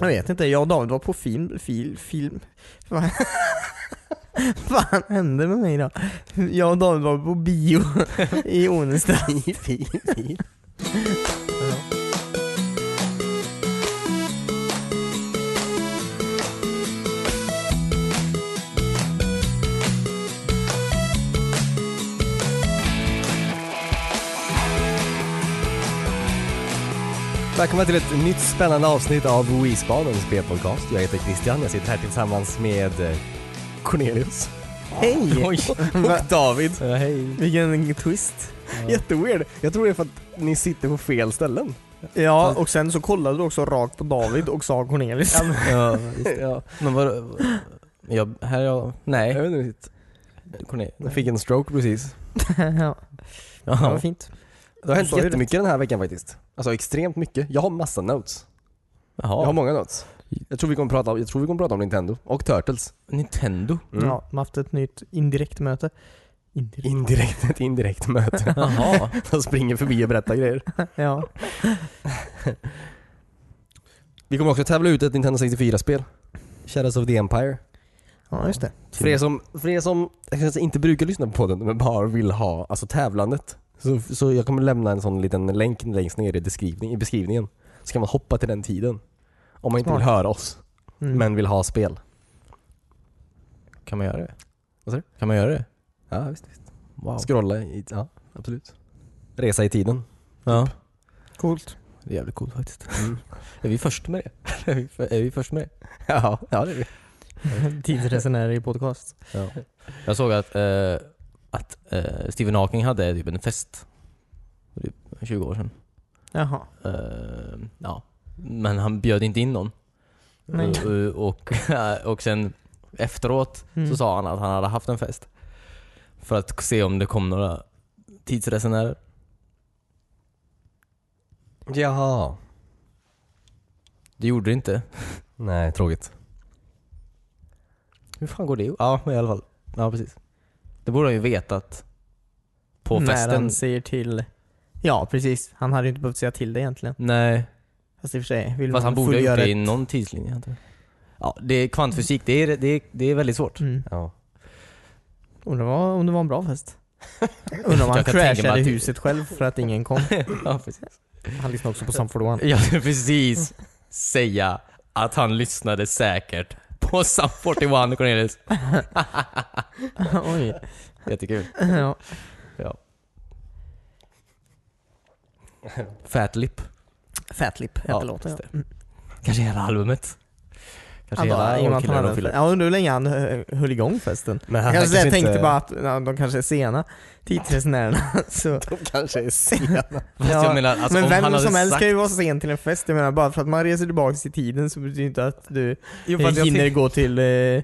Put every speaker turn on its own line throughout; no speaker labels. Jag vet inte, jag och David var på film, film, film. Vad fan hände med mig då? Jag och David var på bio i onsdag. I film, film.
Välkomna till ett nytt spännande avsnitt av Weesbanens spelpodcast. Jag heter Christian, jag sitter här tillsammans med eh, Cornelius
Hej!
och David.
hej.
Vilken twist.
Jätteweird. Jag tror det är för att ni sitter på fel ställen.
Ja, och sen så kollade du också rakt på David och sa Cornelis.
Ja, just det. Ja. Men vad... Jag, här är jag...
Jag
Nej.
vet inte riktigt.
Cornelia.
Jag fick en stroke precis.
ja, det var
Jaha.
fint.
Det har hänt
Så är det.
jättemycket den här veckan faktiskt. Alltså extremt mycket. Jag har massa notes. Jag har
Jaha.
många notes. Jag tror vi kommer prata om, jag tror vi kommer prata om Nintendo och Turtles.
Nintendo.
Mm.
Ja, de har haft ett nytt indirekt möte. Indirekt.
Indirekt, ett indirekt möte.
Jaha.
De springer förbi och berättar grejer.
Ja.
Vi kommer också tävla ut ett Nintendo 64-spel. Shadows of the Empire.
ja, just det.
För er som, för er som jag kanske inte brukar lyssna på podden men bara vill ha alltså tävlandet. Så, så jag kommer lämna en sån liten länk längst ner i, beskrivning, i beskrivningen. Så kan man hoppa till den tiden. Om man inte vill
Smart.
höra oss,
Mm.
men vill ha spel.
Kan man göra det?
Vad sa du?
Kan man göra det?
Ja, visst.
Wow.
Scrolla i, ja absolut. Resa i tiden.
Ja.
Coolt.
Det är jävligt coolt faktiskt.
Mm.
Är vi först med det? Är vi, för, är vi först med det?
Ja, ja det är det.
Tidsresenärer i podcast.
Jag såg att, eh, att eh, Stephen Hawking hade typ en fest. för Typ 20 år sedan.
Jaha.
Eh, ja. Men han bjöd inte in någon.
Nej.
Och, och, och sen efteråt
Mm.
så sa han att han hade haft en fest. För att se om det kom några tidsresenärer.
Jaha.
Det gjorde det inte.
Nej, tråkigt.
Hur fan går det ihop? Ja, i alla fall. Ja, precis. Det borde han ju vetat. På
När
festen.
han säger till... Ja, precis. Han hade ju inte behövt säga till det egentligen.
Nej,
Fast i och för sig, vill
fast
man
han borde ha gjort
fullgöra
det i
ett-
någon tidslinje. antar jag. Ja, det är kvantfysik. Det är, det är, det är väldigt svårt.
Mm.
Ja.
Undrar vad- om det var en bra fest. Undrar om han
Jag kan tänka mig
crashade
att-
huset själv för att ingen kom.
ja, precis.
Han lyssnade också på Some 41.
Jag skulle precis säga att han lyssnade säkert på Sam 41 Cornelius.
Oj.
Jättekul.
Ja.
Ja. Fat Lip.
Fatlip hette
Ja,
låten.
just
Ja. Mm.
Kanske hela albumet.
Antar-
Kanske
i och
hela
med att han
Killar
hade
och
en-
Filler.
Ja, undrar hur länge han eh, höll igång festen.
Men
Jag kanske
kanske
tänkte
inte-
bara att ja, de kanske är sena, tidsresenärerna. Så.
De kanske är sena.
Fast jag menar, alltså,
men
om han
vem
hade
som helst
sagt...
kan ju vara sen till en fest. Jag menar, bara för att man reser tillbaks i tiden så betyder det inte att du
Jo,
eh,
fast jag
hinner
tänker-
gå till... Eh,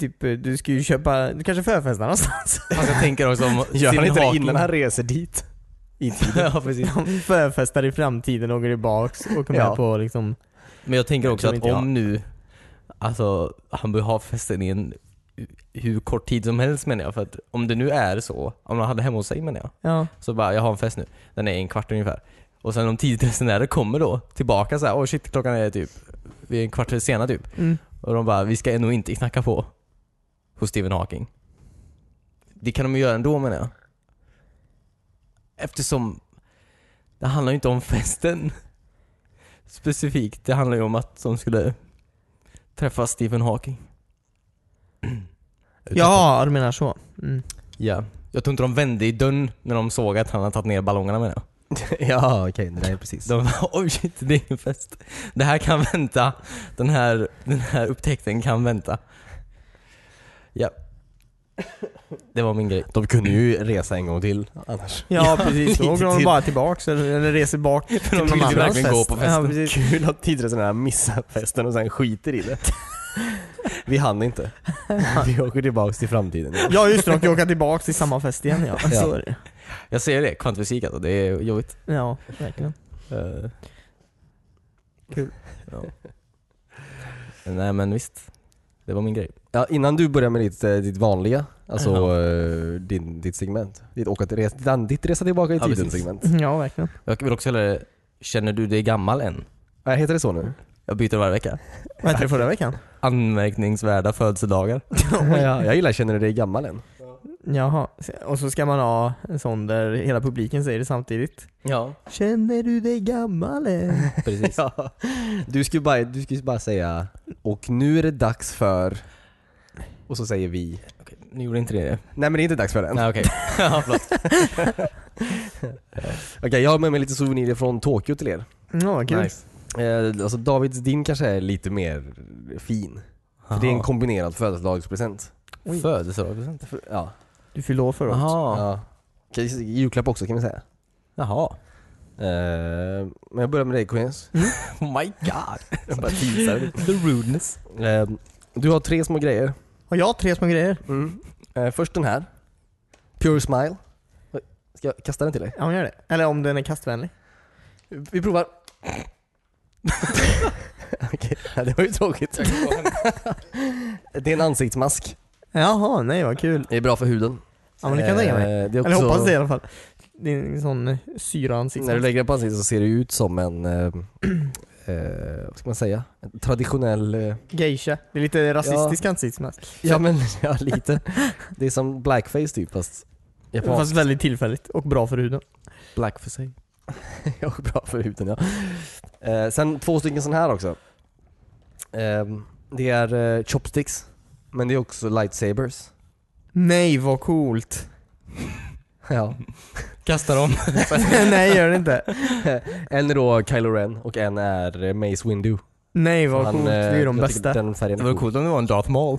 typ, eh, du ska ju köpa... Du kanske förfestar någonstans?
Fast jag tänker också om
Gör han
Stephen
inte det
Hawking-
innan han reser dit? I tiden.
ja, precis.
De förfestar i framtiden och går tillbaks och kommer
Ja.
på liksom...
Men jag tänker
Det
också
tror
att
inte jag.
om nu, alltså han bör ha festen i en hur kort tid som helst menar jag. För att om det nu är så, om han hade hemma hos sig menar jag.
Ja.
Så bara, jag har en fest nu. Den är en kvart ungefär. Och sen om tio resenärer kommer då tillbaka så här, oh shit klockan är typ, vi är en kvart sena typ.
Mm.
Och de bara, vi ska ändå inte knacka på hos Stephen Hawking. Det kan de ju göra ändå menar jag. Eftersom det handlar ju inte om festen specifikt. Det handlar ju om att de skulle träffa Stephen Hawking.
Ja, du menar så. Mm.
Ja. Jag tror inte de vände i dörren när de såg att han hade tagit ner ballongerna menar jag.
ja, okej. det där är precis.
De bara, oj shit, det är ingen fest. Det här kan vänta. Den här, den här upptäckten kan vänta. Ja. Det var min grej.
De kunde ju resa en gång till annars.
Ja, precis. Då
lite
åker de
till.
bara tillbaks eller, eller reser bak till
de vill ju verkligen gå på festen.
Ja, precis.
Kul att tidsresenärerna missar festen och sen skiter i det. Vi hann inte. Vi åker tillbaks till framtiden.
ja just det, de kan åka tillbaks till samma fest igen ja. Så är det.
Jag ser det, kvantfysik alltså. Det är jobbigt.
Ja, verkligen.
Eh,
Kul.
Ja. Nej men visst. Det var min grej.
Ja, innan du börjar med ditt, eh, ditt vanliga, alltså
Ja.
eh, din, ditt segment. Ditt, åka till res, ditt- ditt resa tillbaka i
Ja,
tiden
precis.
segment.
Ja, verkligen.
Jag vill också kalla det, känner du dig gammal än?
Äh, heter det så nu?
Jag byter varje vecka.
Vad hette det förra veckan?
Anmärkningsvärda födelsedagar.
ja, jag gillar Känner du dig gammal än?
Jaha, och så ska man ha en sån där hela publiken säger det samtidigt.
Ja,
Känner du dig gammal än?
precis.
Ja. Du ska ju bara, du ska ju bara säga Och nu är det dags för Och så säger vi
Okej, nu gjorde inte det det.
Nej men det är inte dags för den
Nej okej. ja, förlåt.
Okej, jag har med mig lite souvenirer från Tokyo till er
Ja, vad kul.
Nice.
eh, Alltså Davids, din kanske är lite mer fin För det är en
Jaha.
kombinerad födelsedagspresent
Oj.
Födelsedagspresent?
För- Ja,
Du fyllde år förra året.
Jaha.
ja. Okej, Julklapp också kan vi säga
Jaha.
eh, Men jag börjar med dig Queens
Oh my god.
Jag bara teasar lite.
The rudeness.
eh, Du har tre små grejer
Har jag tre små grejer?
Eh, först den här. Pure Smile. Oj, Ska jag kasta den till dig?
Ja, hon gör det. Eller om den är kastvänlig.
Vi provar. Okej, ja, det var ju tråkigt. Det är en ansiktsmask.
Jaha, nej vad kul.
Det är bra för huden.
Ja men det kan jag tänka mig.
Eh, Det är också,
Eller hoppas det i alla fall. Det är en sån eh, syraansiktsmask.
När du lägger den på ansiktet så ser det ut som en, eh, eh, vad ska man säga? En traditionell, eh,
Geisha. Det är lite rasistisk ansiktsmask.
ja men ja, lite. Det är som blackface typ fast japanskt.
Fast väldigt tillfälligt och bra för huden.
Black för sig.
Ja, bra för huden ja. Eh, sen två stycken sån här också. Ehm, det är eh, chopsticks, men det är också lightsabers.
Nej vad coolt!
Ja.
Kasta dem.
nej gör det inte.
en är då Kylo Ren och en är eh, Mace Windu.
Nej vad
Han,
coolt, det är ju
eh,
de
jag tycker
bästa.
Den färgen
Det
är
vore
cool.
coolt om det var en Darth Maul.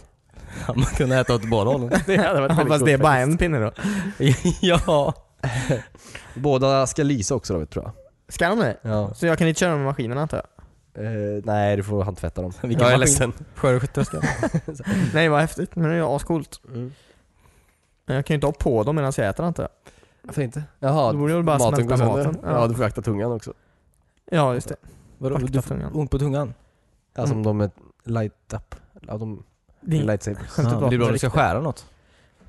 Ja, man kunde äta åt båda hållen.
det hade varit
Ja,
väldigt
fast
coolt
det är bara
faktiskt.
en pinne då.
ja.
Båda ska lysa också då, tror jag.
Ska de det?
Ja.
Så jag kan inte köra med maskinerna antar jag?
Eh, nej, du får handtvätta dem.
Vilken
jag är
maskin.
ledsen.
Skördeskytterska.
Nej vad häftigt, men det är ju ascoolt.
Mm.
Men jag kan ju inte ha på dem medan jag äter antar jag.
Varför inte? Jaha,
Då borde jag väl bara
maten går
smälta
sönder.
maten.
Ja.
Ja.
du får akta tungan också.
Ja just det.
Vadå?
Akta
Du
tungan.
får ont på tungan?
Alltså
Mm.
om de är light up. Ja, de
Det är
lightsabers.
skönt att
Ja, det
prata
är bra
med
om du ska skära något.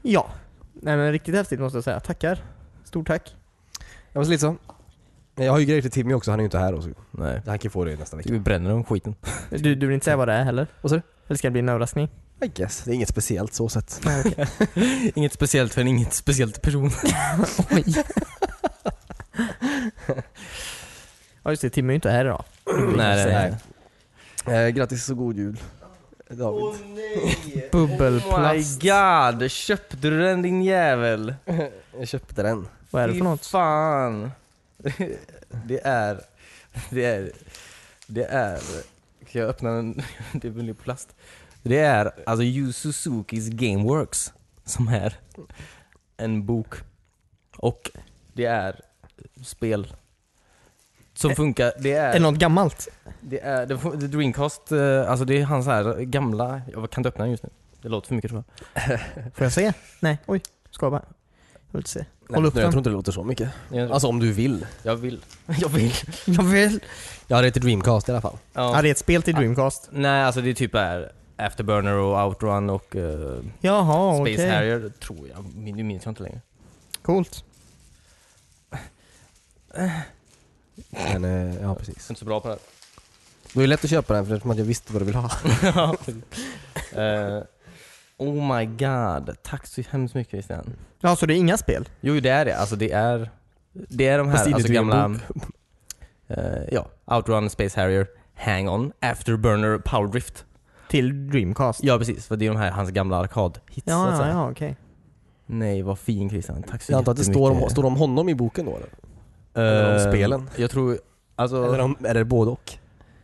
Ja. Nej men riktigt häftigt måste jag säga. Tackar. Stort tack.
Ja men så lite så. Jag har ju grejer till Timmy också, han är ju inte här också.
Nej.
Han kan ju få det nästa vecka.
Vi bränner den skiten.
Du, du vill inte säga vad det är heller?
Vad sa du?
Eller ska det bli en överraskning?
I guess, det är inget speciellt så sett.
Inget speciellt för en inget speciellt person.
Ja just det, Timmy är ju inte här idag.
nej, nej, nej.
Eh, grattis och god jul David.
nej. Oh
Bubbelplast.
god, köpte du den din jävel?
Jag köpte den.
Vad är det för något?
fan. Det är, det är, det är, kan jag öppna den? Det blir plast. Det är alltså Yu Suzukis Gameworks som är en bok. Och det är spel. Som funkar, det
Är det
är,
något gammalt?
det är, det är det Dreamcast, eh, alltså det är hans här gamla, jag kan inte öppna den just nu. Det låter för mycket tror jag.
Får jag se? Nej, oj. Skojar bara. Jag vill inte se.
Nej,
Håll upp
nej, Jag
den.
tror inte det låter så mycket.
Jag,
Alltså om du vill.
jag vill, jag vill.
Jag vill.
Jag har det till Dreamcast i alla fall.
Ja, det är ett spel till Dreamcast.
Nej, alltså det är typ där Afterburner och Outrun och eh,
Ah,
Jaha,
Space
okej.
Harrier, tror jag. Min- Nu minns jag inte längre.
Coolt.
Men, eh, ja
Jag
precis.
är inte så bra på det
Det var ju lätt att köpa den för eftersom att jag visste vad du ville ha.
här. Eh, oh my god, tack så hemskt mycket Christian.
Ja, så det är inga spel?
Jo, det är det. Alltså det är, det är de
Fast
här alltså,
inuti en
gamla... eh, ja, Outrun, Space Harrier, Hang On, Afterburner, Power Drift.
Till Dreamcast?
Ja, precis. För det är de här hans gamla arkadhits. så
Ja,
att
ja,
säga.
ja okej.
Nej, vad fin Christian. Tack så
Jag antar att det står om,
jättemycket.
står om honom i boken då eller?
Eh,
eller om spelen.
Jag tror... Alltså,
Eller om, är det både och?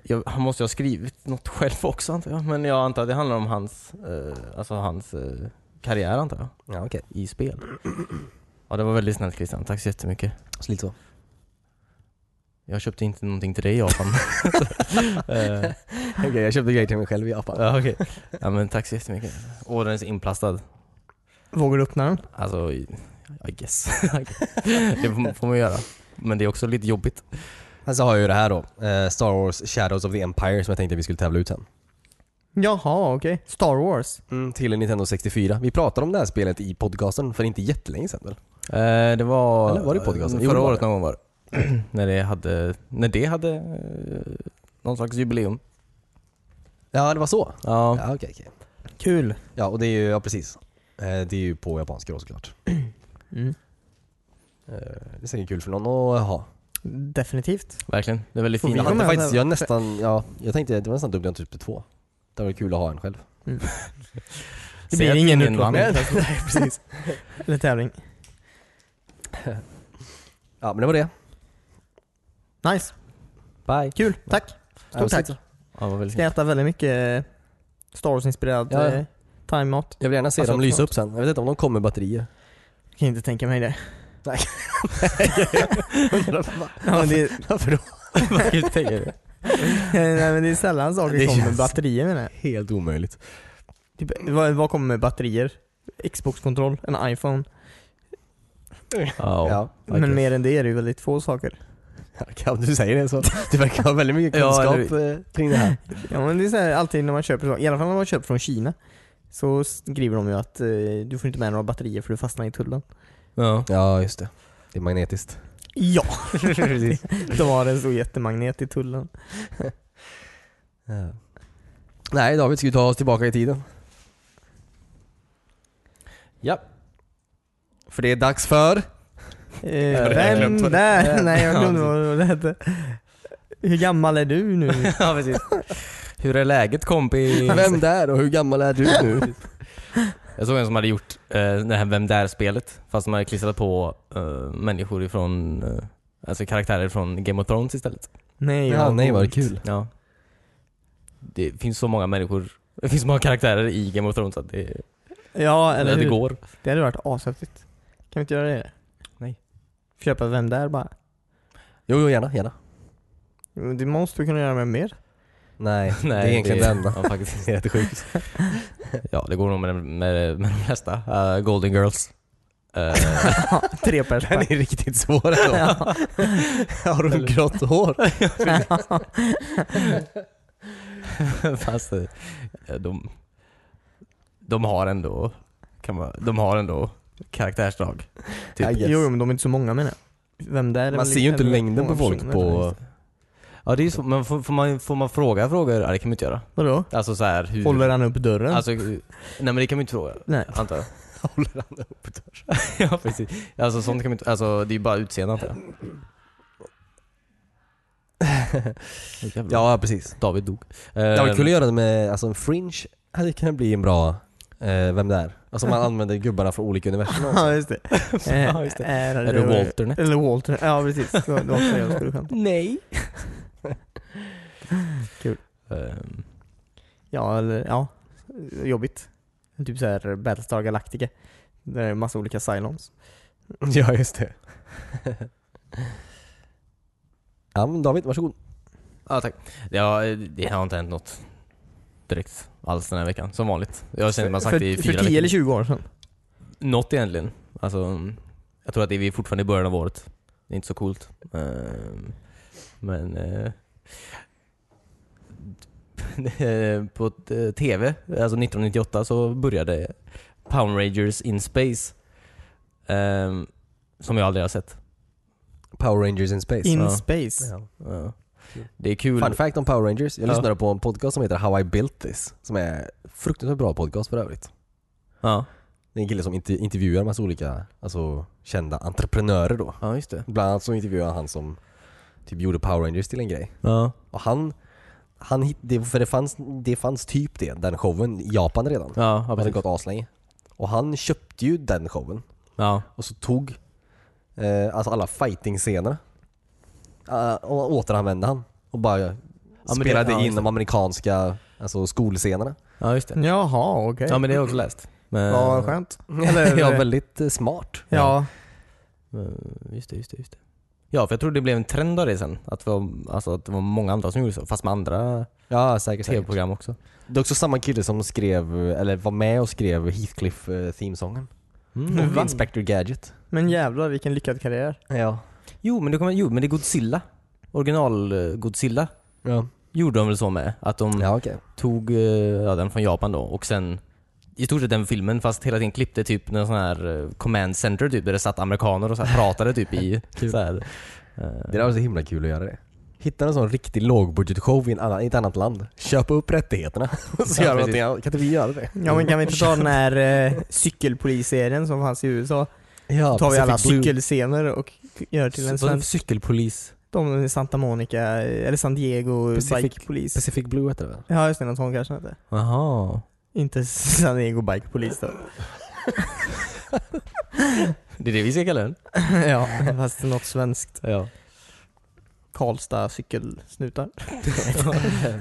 jag, han måste ju ha skrivit något själv också antar jag. Men jag antar att det handlar om hans, eh, alltså hans eh, karriär antar jag,
Ja okej.
i spel. Ja det var väldigt snällt Christian, tack så jättemycket.
Så lite så.
Jag köpte inte någonting till dig i Japan. Eh,
Okej, jag köpte grejer till mig själv i Japan.
ja, okej. ja men tack så jättemycket. Och den är så inplastad.
Vågar du öppna den?
Alltså, I I guess. det får- får man göra. Men det är också lite jobbigt.
Sen så har jag ju det här då. eh, Star Wars Shadows of the Empire som jag tänkte vi skulle tävla ut sen.
Jaha, okej. Star Wars.
Mm, till en Nintendo 64. Vi pratade om det här spelet i podcasten för inte jättelänge sedan väl?
Eh, det var...
Eller var det i podcasten? Jo, det
Förra
var
året
det.
någon gång var det. när det hade, när det hade eh, någon slags jubileum.
Ja, det var så?
Ja.
Ja, okej, okej.
Kul.
Ja, och det är ju, ja precis. Eh, Det är ju på japanska då såklart.
Mm.
Eh, Det är säkert kul för någon att ha.
Definitivt.
Verkligen. Det är väldigt
Får vi
Jag
ha
fint.
med
hade faktiskt,
den?
jag nästan, ja, jag tänkte det var nästan dumt att jag inte typ två. Det var kul att ha en själv.
Det
Säg
blir
att
ingen
ingen vann.
utlottning
Nej, precis.
eller tävling.
Ja, men det var det.
Nice.
Bye.
Kul. Tack.
Ja,
Stort tack.
sitt.
Ja, vad väldigt
Ska
fint.
äta väldigt mycket eh, Star Wars-inspirerad eh,
Ja.
ja. time-out.
Jag vill gärna se
Alltså,
dem lysa upp sen. Jag vet inte om de kommer med batterier.
Kan inte tänka mig det. Ja, men det,
Varför- Varför då?
Vad kan du tänka dig?
nej, men det är sällan saker
Det
kommer med
känns-
batterier menar jag.
Helt omöjligt.
Typ, vad, vad kommer med batterier? Xbox-kontroll, en iPhone.
Ja.
Ja.
Men mer än det är det ju väldigt få saker.
Kan du säger det så. Du verkar ha väldigt mycket
Ja,
kunskap
eller-
eh, kring det här.
Ja men det är så här, alltid när man köper saker, i alla fall när man köper från Kina. Så skriver de ju att eh, du får inte med några batterier för du fastnar i tullen.
Ja.
Ja, just det. Det är magnetiskt.
Ja! de har en stor jättemagnet i tullen.
Ja. Nej David, ska vi ta oss tillbaka i tiden? Ja. För det är dags för...
Eh,
det har jag
vem
glömt vad det-
där? Nej jag
Ja,
glömde vad det hette. Hur gammal är du nu?
ja, precis. Hur är läget kompis?
Vem där och hur gammal är du nu?
Jag såg en som hade gjort eh, det här Vem Där-spelet, fast de hade klistrat på eh, människor ifrån, eh, alltså karaktärer från Game of Thrones istället.
Nej,
Ja, nej vad
coolt.
kul.
Ja. Det finns så många människor, det finns så många karaktärer i Game of Thrones att det,
Ja eller
eller det
hur?
går.
Det hade varit ashäftigt. Kan vi inte göra det?
Nej.
Köpa Vem där bara?
Jo, jo gärna, gärna.
Men Det måste vi kunna göra med mer.
Nej, det är
Nej,
egentligen det enda.
Ja, faktiskt.
Det är rätt sjukt.
ja, det går nog med, med, med de flesta. Eh, Golden Girls. Eh,
Tre pers
Den
per.
är riktigt svår ändå.
Ja.
Har hon grått hår?
fast eh, de, de har ändå, kan man, de har ändå karaktärsdrag. Typ.
I guess.
Jo, men de är inte så många menar jag. Vem där är
Man
väl-
ser ju inte
eller
längden på
många
folk
personer,
på...
faktiskt.
Ja det är ju så, men får, får, man, får man fråga frågor? Ja det kan man inte göra.
Vadå?
Alltså så här hur...
Håller han upp dörren?
Alltså, hur- nej men det kan man inte fråga,
Nej.
antar jag.
Håller han upp dörren?
ja precis. Alltså sånt kan man inte, alltså det är ju bara utseende antar jag. Jävlar.
Ja, precis.
David dog.
Ja, vi
Ehm,
kunde göra det med, alltså en fringe hade kunnat bli en bra, eh, vem det är. Alltså man använder gubbarna från olika universum också.
Ja, just det.
Ja, just det.
Eh,
Är det Walter? nej?
Eller Walter. Ja, precis. Det var det var också jag skulle skämta.
Nej.
Kul.
Ehm,
Ja, eller ja. Jobbigt. Typ såhär Battlestar Galactica. Där är en massa olika Cylons.
Ja, just det. ja, men David, varsågod.
Ja tack. Ja, det har inte hänt något direkt alls den här veckan, som vanligt. Jag känner att man sagt
för,
det i fyra
för 10
veckor.
eller 20 år sedan.
något egentligen. Alltså, mm, jag tror att det är vi är fortfarande i början av året. Det är inte så coolt. Ehm, Men... eh, eh, På eh, TV, alltså 1998, så började Power Rangers in Space. Ehm, Som jag aldrig har sett.
Power Rangers in Space.
In
Ja.
Space.
Ja. Det är kul.
Fun fact om Power Rangers. Jag
Ja.
lyssnade på en podcast som heter How I Built This. Som är fruktansvärt bra podcast för övrigt.
Ja,
Det är en kille som inte intervjuar massa olika alltså, kända entreprenörer då.
ja just det.
Bland annat så intervjuade han han som typ gjorde Power Rangers till en grej.
Ja.
Och han, han hit- det, för det fanns, det fanns typ det, den showen i Japan redan.
Ja, ja,
Det hade
precis.
gått aslänge. Och han köpte ju den showen.
Ja.
Och så tog eh, alltså alla fighting-scener eh, och återanvände han. Och bara
men det-
spelade
ja,
in
just
de amerikanska alltså, skolscenerna.
ja, just det.
Jaha, okej.
Ja, men det har jag också läst. Men,
Vad skönt.
Eller,
Eller-
ja, väldigt eh, smart.
Ja.
Eh, Just det, just det, just det. Ja, för jag tror det blev en trend av det sen. Att det var, alltså, att det var många andra som gjorde så, fast med andra
Ja, säkert. säkert.
tv-program också.
Det är också samma kille som skrev, eller var med och skrev Heathcliff eh, themesången.
Mm.
Och
Va?
Inspector Gadget.
Men jävlar vilken lyckad karriär.
Ja.
Jo, men det, kommer, jo, men det är Godzilla. Original eh, Godzilla
Ja,
gjorde de väl så med. Att de
ja okej.
tog eh, ja, den från Japan då och sen i stort sett den filmen fast hela tiden klippte typ någon sån här eh, command center typ där det satt amerikaner och så här pratade typ i så här. eh,
Det där var så himla kul att göra det. Hitta en sån riktig lågbudgetshow i, en annan- i ett annat land. Köpa upp rättigheterna. Och så
Ja,
gör vi någonting
precis.
annat. Kan inte vi göra det?
Ja men kan vi inte ta den här eh, cykelpolisserien som fanns i USA?
Ja,
Då tar vi alla
Pacific Blue.
cykelscener och gör till en
Vadå för
svensk.
cykelpolis?
De i Santa Monica, eh, eller San Diego
Pacific-
Bike Police.
Pacific Blue heter det väl?
Ja just det, någon sån kanske den hette.
Jaha.
Inte San Diego Bike Police då.
Det är det vi ska kalla den?
ja, fast något svenskt.
Ja.
Karlstad cykelsnutar.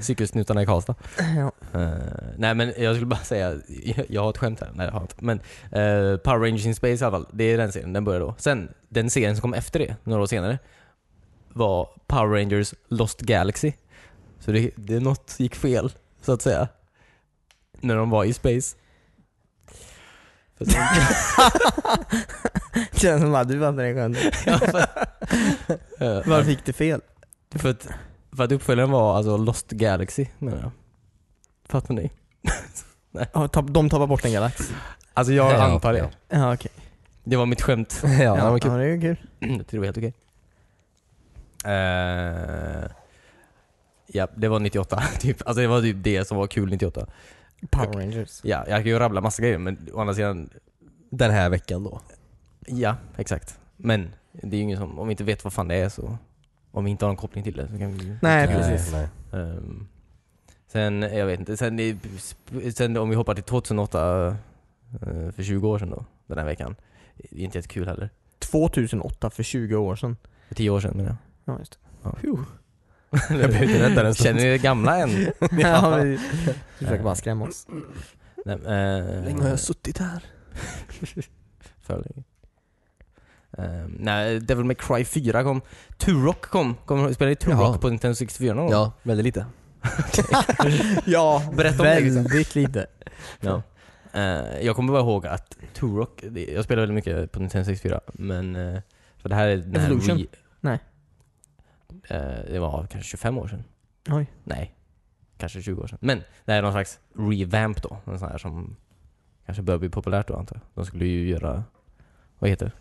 Cykelsnutarna i Karlstad.
ja.
Eh, nej men jag skulle bara säga, jag, jag har ett skämt här. Nej det har jag inte. Men eh, Power Rangers in Space i alla fall, det är den serien, den börjar då. Sen, den serien som kom efter det, några år senare, var Power Rangers Lost Galaxy. Så det, det något gick fel, så att säga. När de var i space. För sen-
Känns som att du vann den skämtet.
Ja, för- Eh,
Varför fick du fel?
För att, för att uppföljaren var alltså Lost Galaxy menar jag. Fattar ni?
Ja, tapp- De tappar bort en galax.
Alltså jag
Ja,
antar det.
ja.
Ja okej.
Det var mitt skämt.
Ja,
Ja,
det var kul.
ja, det är ju kul.
Mm, Jag tror det var helt okej. Eh, ja, det var 98 typ. Alltså det var typ det som var kul 98.
Power Rangers.
Ja, jag kan ju rabbla massa grejer men å andra sidan,
Den här veckan då.
ja exakt. Men det är ju ingen som, om vi inte vet vad fan det är så, om vi inte har någon koppling till det så kan vi ju
Nej, precis.
Nej.
Ehm, sen, jag vet inte, sen, i- sen om vi hoppar till 2008, eh, för 20 år sedan då, den här veckan. Det är inte jättekul heller.
2008, för 20 år sedan.
För 10 år sedan menar jag.
Ja, just det.
jag
blev inte rädd där en stund.
Känner ni er gamla än?
ja, vi vi försöker bara skrämma oss.
Nej, eh,
suttit här?
för länge. Ehm, nej, Devil May Cry 4 kom. Turok kom. kom spelade ni
Jaha.
Turok på Nintendo 64 någon gång?
Ja, väldigt lite.
Ja,
Berätta om det, Gustav.
väldigt lite.
Ja. Eh, jag kommer bara ihåg att Turok, det- jag spelade väldigt mycket på Nintendo 64, men... eh, för det här är... den här
Evolution?
Wii-
Nej.
Eh, det var kanske 25 år sedan.
Oj.
Nej. Kanske 20 år sedan. Men det här är någon slags revamp då. En sån här som kanske börjar bli populärt då antar jag. De skulle ju göra, vad heter det?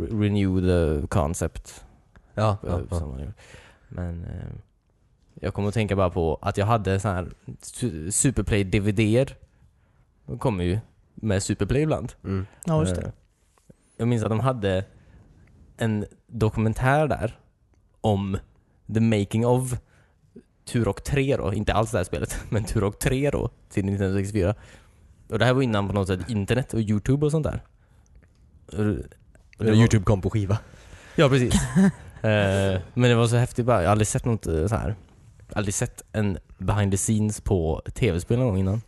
Re- Renew the concept.
Ja,
Ja,
ja, ja.
eh, som man gör. Men eh, jag kommer att tänka bara på att jag hade så här su- Superplay-DVD-er. De kommer ju med Superplay ibland.
Mm.
Ja, just det.
Eh, Jag minns att de hade en dokumentär där om the making of Turok 3 då, inte alls det här spelet, men Turok 3 då till 1964. Och det här var innan på något sätt internet och youtube och sånt där. Och- och det var-
Youtube kom på skiva.
Ja, precis. Eh, men det var så häftigt bara. Jag har aldrig sett något eh, så här. Jag har aldrig sett en behind the scenes på tv-spel någon gång innan.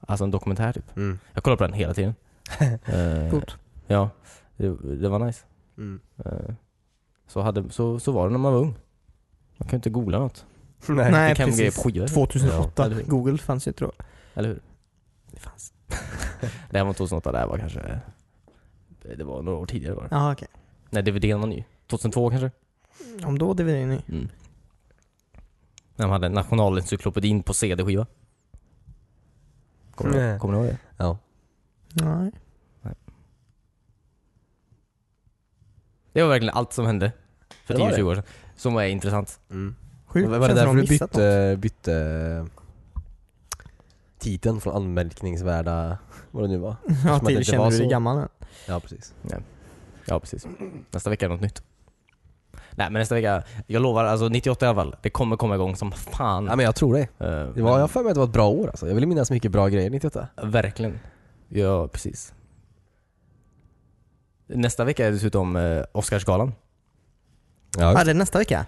Alltså en dokumentär typ.
Mm.
Jag kollar på den hela tiden. Eh,
Coolt.
Ja, det, det var nice.
Mm.
Eh, så, hade, så, så var det när man var ung. Man kan ju inte googla något.
Nej.
Nej,
det kan grejer
precis.
på skivor.
2008.
Ja.
Google fanns ju tror jag.
Eller hur? Det fanns. det här var 2008, det här var kanske... Det var några år tidigare var det.
Ja, okej.
Nej, DVDn var ny. 2002 kanske?
Om då det är ni.
Mm. När de hade Nationalencyklopedin på CD-skiva. Kommer,
Nej.
mm. kommer ni ihåg det?
Ja.
Nej.
Det var verkligen allt som hände för
Det var
10-20 år sedan. Som var intressant.
Mm.
Sjukt.
var det
Känns som
därför
de
du
missat något.
bytte, bytte titeln från anmärkningsvärda, vad det nu var?
Ja,
att det
till
inte
känner
var
du dig
så.
gammal än?
Ja, precis.
Ja, precis. Nästa vecka är något nytt. Nej, men nästa vecka. Jag lovar, alltså 98 i alla fall. Det kommer komma igång som fan.
Ja, men jag tror det.
Eh,
det var, jag har för mig att det var ett bra år alltså. Jag vill minnas mycket bra grejer 98.
Verkligen. Ja, precis. Nästa vecka är dessutom eh, Oscarsgalan.
Ja,
Ja,
det är nästa vecka?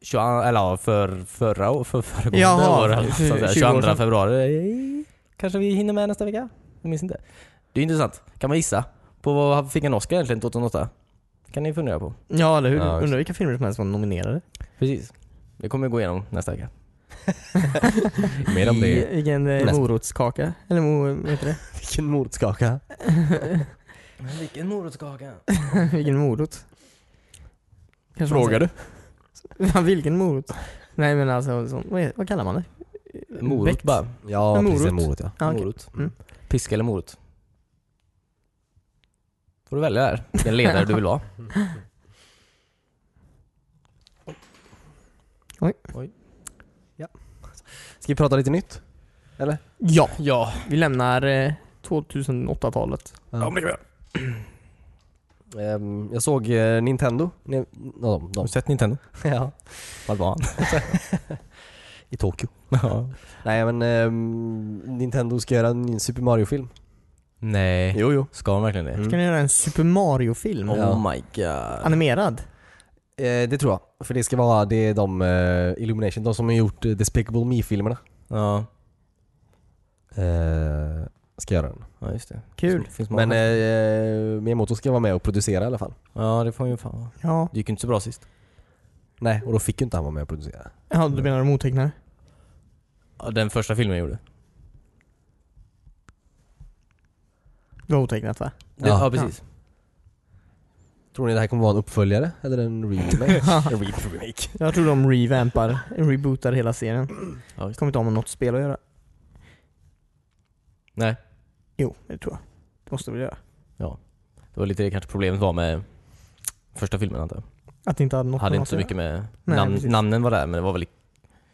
22, eller ja, för förra å- för föregående
Jaha,
år, eller
för-
så att säga.
20 år
22
sedan.
februari. eh, Kanske vi hinner med nästa vecka? Jag minns inte. Det är intressant. Kan man gissa på vad fick en Oscar egentligen 2008? kan ni fundera på.
Ja, eller hur?
Ja, just
Undrar vilka filmer som helst var nominerade?
Precis. Det kommer vi gå igenom nästa vecka.
mer om det.
I- Vilken eh,
Nästa.
morotskaka? Eller mo, vad heter det?
Vilken mordskaka.
Vilken morotskaka!
Vilken morot? Kanske man
Frågar du?
säger. Ja, vilken morot? Nej men alltså, så, vad, är, vad kallar man det?
Morot
Bäck?
bara.
Ja,
En
precis. En
morot.
morot ja.
Ja, okej.
Morot.
Mm.
Piska eller morot? Får du välja där. Den ledare du vill vara.
Ska vi prata lite nytt? Eller?
Ja. ja. Vi lämnar eh, 2008-talet.
Mm.
Ja, men det Jag såg eh, Nintendo. Ni, ja, de,
Har
de.
du sett Nintendo?
Ja.
Vad var han?
I Tokyo.
Ja.
Nej men ehm, Nintendo ska göra en ny Super Mario-film.
Nej.
Jo, jo.
Ska de verkligen det?
Mm.
Ska ni göra en Super Mario-film?
Ja.
Oh my god.
Animerad?
Eh, det tror jag. För det ska vara, det är de eh, Illumination, de som har gjort eh, Despicable Me-filmerna.
Ja,
Eh, ska göra den.
ja just det.
Kul.
Finns många.
Men eh, Miyamoto ska vara med och producera i alla fall.
Ja, det får han ju fan vara.
Ja.
Det gick ju inte så bra sist.
Nej, och då fick ju inte han vara med och producera.
Ja, du menar de otecknade?
Ja, den första filmen jag gjorde.
Det var otecknat va?
Det,
Ja.
ja. precis.
Tror ni det här kommer vara en uppföljare eller en remake? en re- remake.
Jag tror de revampar, rebootar hela serien.
Ja, just
Kommer inte ha med något spel att göra.
Nej.
Jo, det tror jag. Det måste vi göra.
Det var lite det kanske problemet var med första filmen antar jag.
Att det inte hade något
Hade
med
inte
något
så
att
mycket med...
Nej,
namn,
precis.
namnen var där men det var väldigt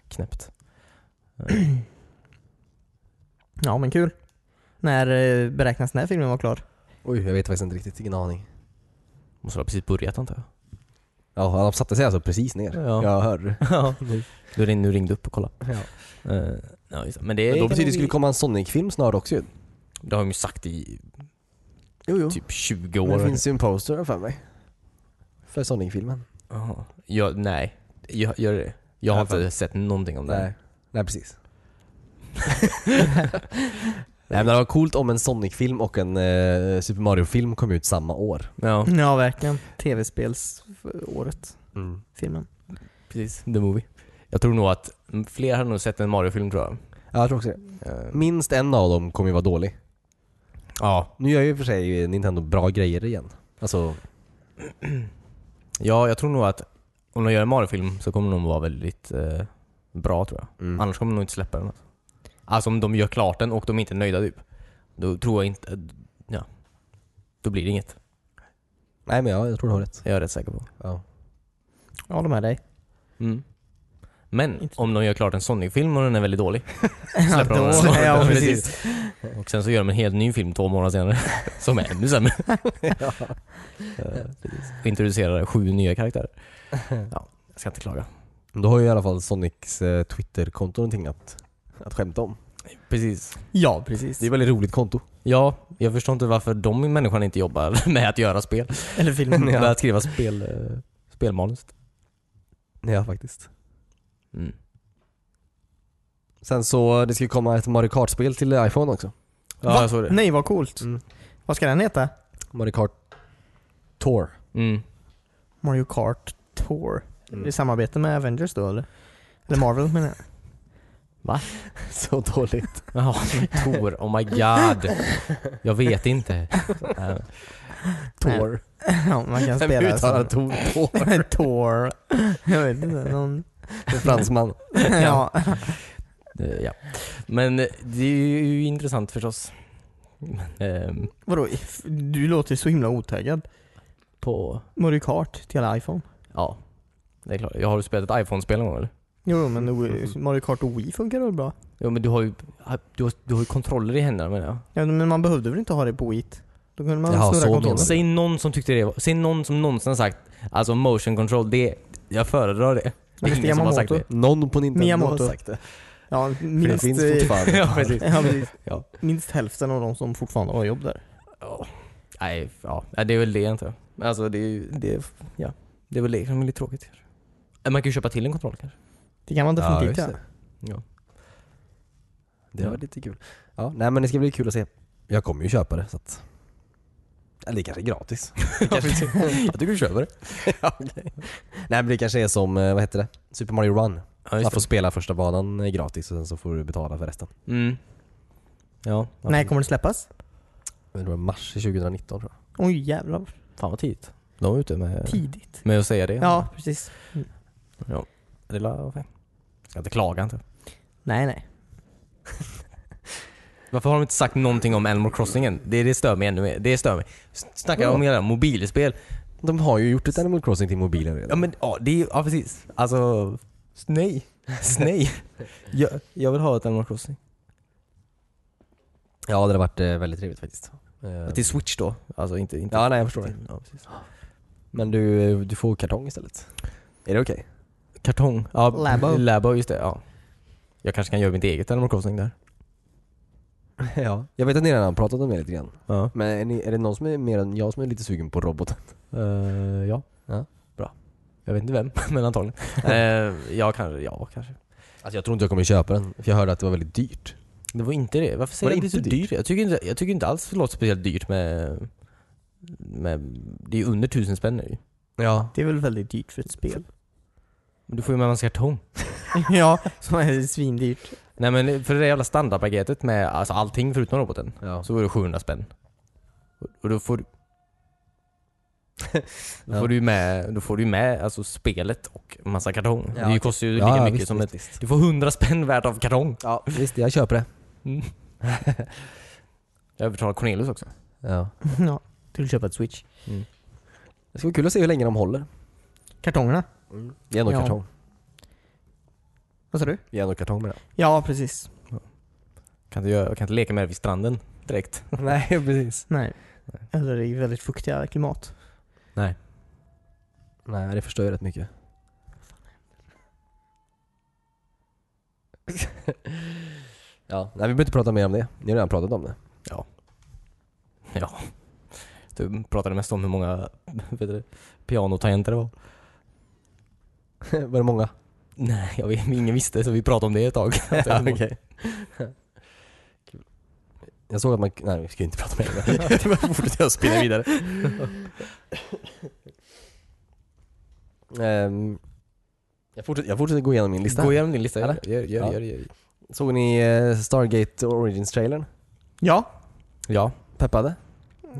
knäppt.
göra. Ja, men kul. När eh, beräknas den här filmen vara klar?
Oj, jag vet faktiskt inte riktigt. Ingen aning.
Måste ha precis börjat antar jag.
Ja, de satte sig alltså precis ner.
Ja.
Jag hör.
Ja. Du ringde, du ringde upp och kollade.
Ja.
Eh, ja, just det. Men det,
Men
kan
då betyder
nog
det skulle
bli-
komma en Sonic-film snart också ju.
det har de ju sagt i
Jo, jo.
typ 20
Men
år.
det finns ju en poster här för mig. För Sonic-filmen.
Jaha. Jag, nej, jag, gör det. Jag har
I alla
inte sett någonting om det.
Nej. Nej, precis. Nej men det var coolt om en Sonic-film och en eh, Super Mario-film kom ut samma år.
Ja,
Ja, verkligen. Tv-spelsåret.
Mm.
Filmen.
precis. The Movie. Jag tror nog att fler har nog sett en Mario-film tror jag.
Ja, jag tror också det.
Eh,
Minst en av dem kommer ju vara dålig.
Ja.
Nu gör ju i och för sig Nintendo bra grejer igen. Alltså,
ja, jag tror nog att om de gör en Mario-film så kommer de vara väldigt eh, bra tror jag.
mm.
Annars kommer de nog inte släppa den. Alltså. alltså om de gör klart den och de inte är nöjda typ. Då tror jag inte... Ja. Då blir det inget.
Nej men ja, jag tror du har rätt.
Jag är rätt säker på.
Ja.
Jag håller med dig.
Men
Inte-
om de gör klart en Sonic-film och den är väldigt dålig.
Ja,
Släpper de den.
då, ja, precis.
Och sen så gör de en helt ny film två månader senare. Som är ännu sämre. Eh, och introducerar sju nya karaktärer. Ja, jag ska inte klaga.
Men Då har ju i alla fall Sonics eh, Twitter-konto någonting att, att skämta om.
Precis.
Ja, precis.
Det är ett väldigt roligt konto.
Ja, jag förstår inte varför de människorna inte jobbar med att göra spel.
Eller filmen.
Med att skriva spel, eh, spelmanus.
Ja faktiskt.
Mm.
Sen så, det ska ju komma ett Mario Kart-spel till iPhone också.
Ja, jag såg det.
Nej, vad coolt.
Mm.
Vad ska den heta?
Mario Kart Tour.
Mm.
Mario Kart Tour.
Mm.
I samarbete med Avengers då eller? Eller Marvel menar jag.
Så dåligt.
Jaha, Tor. Oh my god. Jag vet inte. Eh,
Tour.
Ja, man kan
Vem
spela som...
uttalar Tour? Tour.
Tour. Jag vet inte, någon...
En fransman.
ja.
eh, ja. Men eh, det är ju intressant förstås. Ehm,
Vadå? If- Du låter så himla otaggad.
På...
Mario Kart till hela iPhone.
Ja. Det är klart. Jag har du spelat ett iPhone-spel någon gång eller?
Jo, men Wii- Mario Kart och Wii funkar väl bra?
Jo men du har ju, ah, du har, du har ju kontroller i händerna menar jag.
Ja, men man behövde väl inte ha det på Wii? Då kunde man
Jaha,
snurra
så
kontrollen.
menar du.
Säg någon som tyckte det var, säg någon som någonsin har sagt alltså motion control, det, jag föredrar det. Det är
Mr.
ingen som har sagt
Yamamoto.
det.
Någon på Nintendo
Miyamoto.
har sagt det.
Ja,
För
minst,
det finns
eh,
fortfarande.
Ja, precis.
ja, precis.
Ja.
minst hälften av de som fortfarande har jobb där.
Ja. Nej, ja. Nej, det är väl det inte. jag. Men Alltså det är ju, det, är- ja. Det är väl det som är lite tråkigt kanske. Eh, Man kan ju köpa till en kontroll kanske.
Det kan man definitivt
Ja,
göra.
just
Ja.
Det var lite kul. Ja, nej men det ska bli kul att se. Jag kommer ju köpa det så att... Eller det kanske är gratis. Det kanske- jag tycker du köper det. ja, okej. Nej men det kanske är som, eh, vad heter det? Super Mario Run.
Ja,
Man
just
får
det.
spela första banan eh, gratis och sen så får du betala för resten.
Mm. Ja. ja.
När kommer det släppas?
Men Det var mars 2019 tror jag.
Oj jävlar,
Fan vad tidigt. De är ute med,
tidigt.
med att säga det.
Ja, precis.
Det är la- okej. Ska inte klaga inte.
Nej, nej.
Varför har de inte sagt någonting om Animal Crossing än? Det, det stör mig ännu mer. Det stör mig. S- Snackar
Vadå?
om hela mobilspel.
De har ju gjort ett Animal Crossing till mobilen redan.
Ja men ja, det är, ja precis. Alltså, S- Nej. S- Nej. Jag, jag vill ha ett Animal Crossing.
Ja, det hade varit eh, väldigt trevligt faktiskt. Eh,
Till Switch då. Alltså inte... inte
Ja, nej jag förstår det.
till, ja, precis.
Men du, eh, du får kartong istället. Är det okej?
Kartong. Ja,
Labo.
Labo, just det. Ja. Jag kanske kan göra mitt eget Animal Crossing där.
ja. Jag vet att ni redan har pratat om det lite grann.
Ja.
Men är, ni, är det någon som är mer än jag som är lite sugen på roboten?
Eh, ja.
Ja.
Bra. Jag vet inte vem, men antagligen. uh, jag kanske, ja kanske.
Alltså jag tror inte jag kommer köpa den, för jag hörde att det var väldigt dyrt.
Det var inte det. Varför säger
Var det
du att det är så
inte
dyrt? Jag, tycker inte, jag tycker inte alls det låter speciellt dyrt med... med det är ju under tusen spänn nu.
Ja.
Det är väl väldigt dyrt för ett spel?
Men du får ju med en massa kartong.
ja, som är svindyrt.
Nej men för det där jävla standardpaketet med alltså, allting förutom roboten.
ja.
Så var det 700 spänn. Och- Och då får du... då
Ja.
får du ju med, då får du ju med alltså, spelet och en massa kartong.
Ja,
det
okej.
kostar ju lika
ja,
mycket
visst,
som
visst,
ett...
visst.
Du får 100 spänn värt av kartong.
Ja, visst. Jag köper det.
Jag övertalar Cornelius också.
Ja.
ja, till att köpa ett switch.
Det ska bli kul att se hur länge de håller.
Kartongerna?
Det är ändå
Ja.
kartong.
Vad sa du?
Det är ändå kartong med det.
Ja, precis.
Kan inte, göra, jag kan inte leka med det vid stranden direkt.
Nej, precis.
Nej. Eller i väldigt fuktiga klimat.
Nej, det förstör ju rätt mycket. ja, nej vi behöver inte prata mer om det. Ni har redan pratat om det.
Du pratade mest om hur många vet du, pianotangenter det var.
var det många?
Nej, jag vet, ingen visste så vi pratade om det ett tag.
Kul. Jag såg att man... Nej, vi ska ju inte prata mer om det. Varför fortsätter jag spinna vidare? Ehm, jag, fortsätter, jag fortsätter gå igenom min lista.
Gå
här.
igenom din lista. Gör,
Eller?
gör, gör,
Ja.
gör, gör.
Såg ni eh, Stargate Origins-trailern?
Ja,
Ja.
Peppade?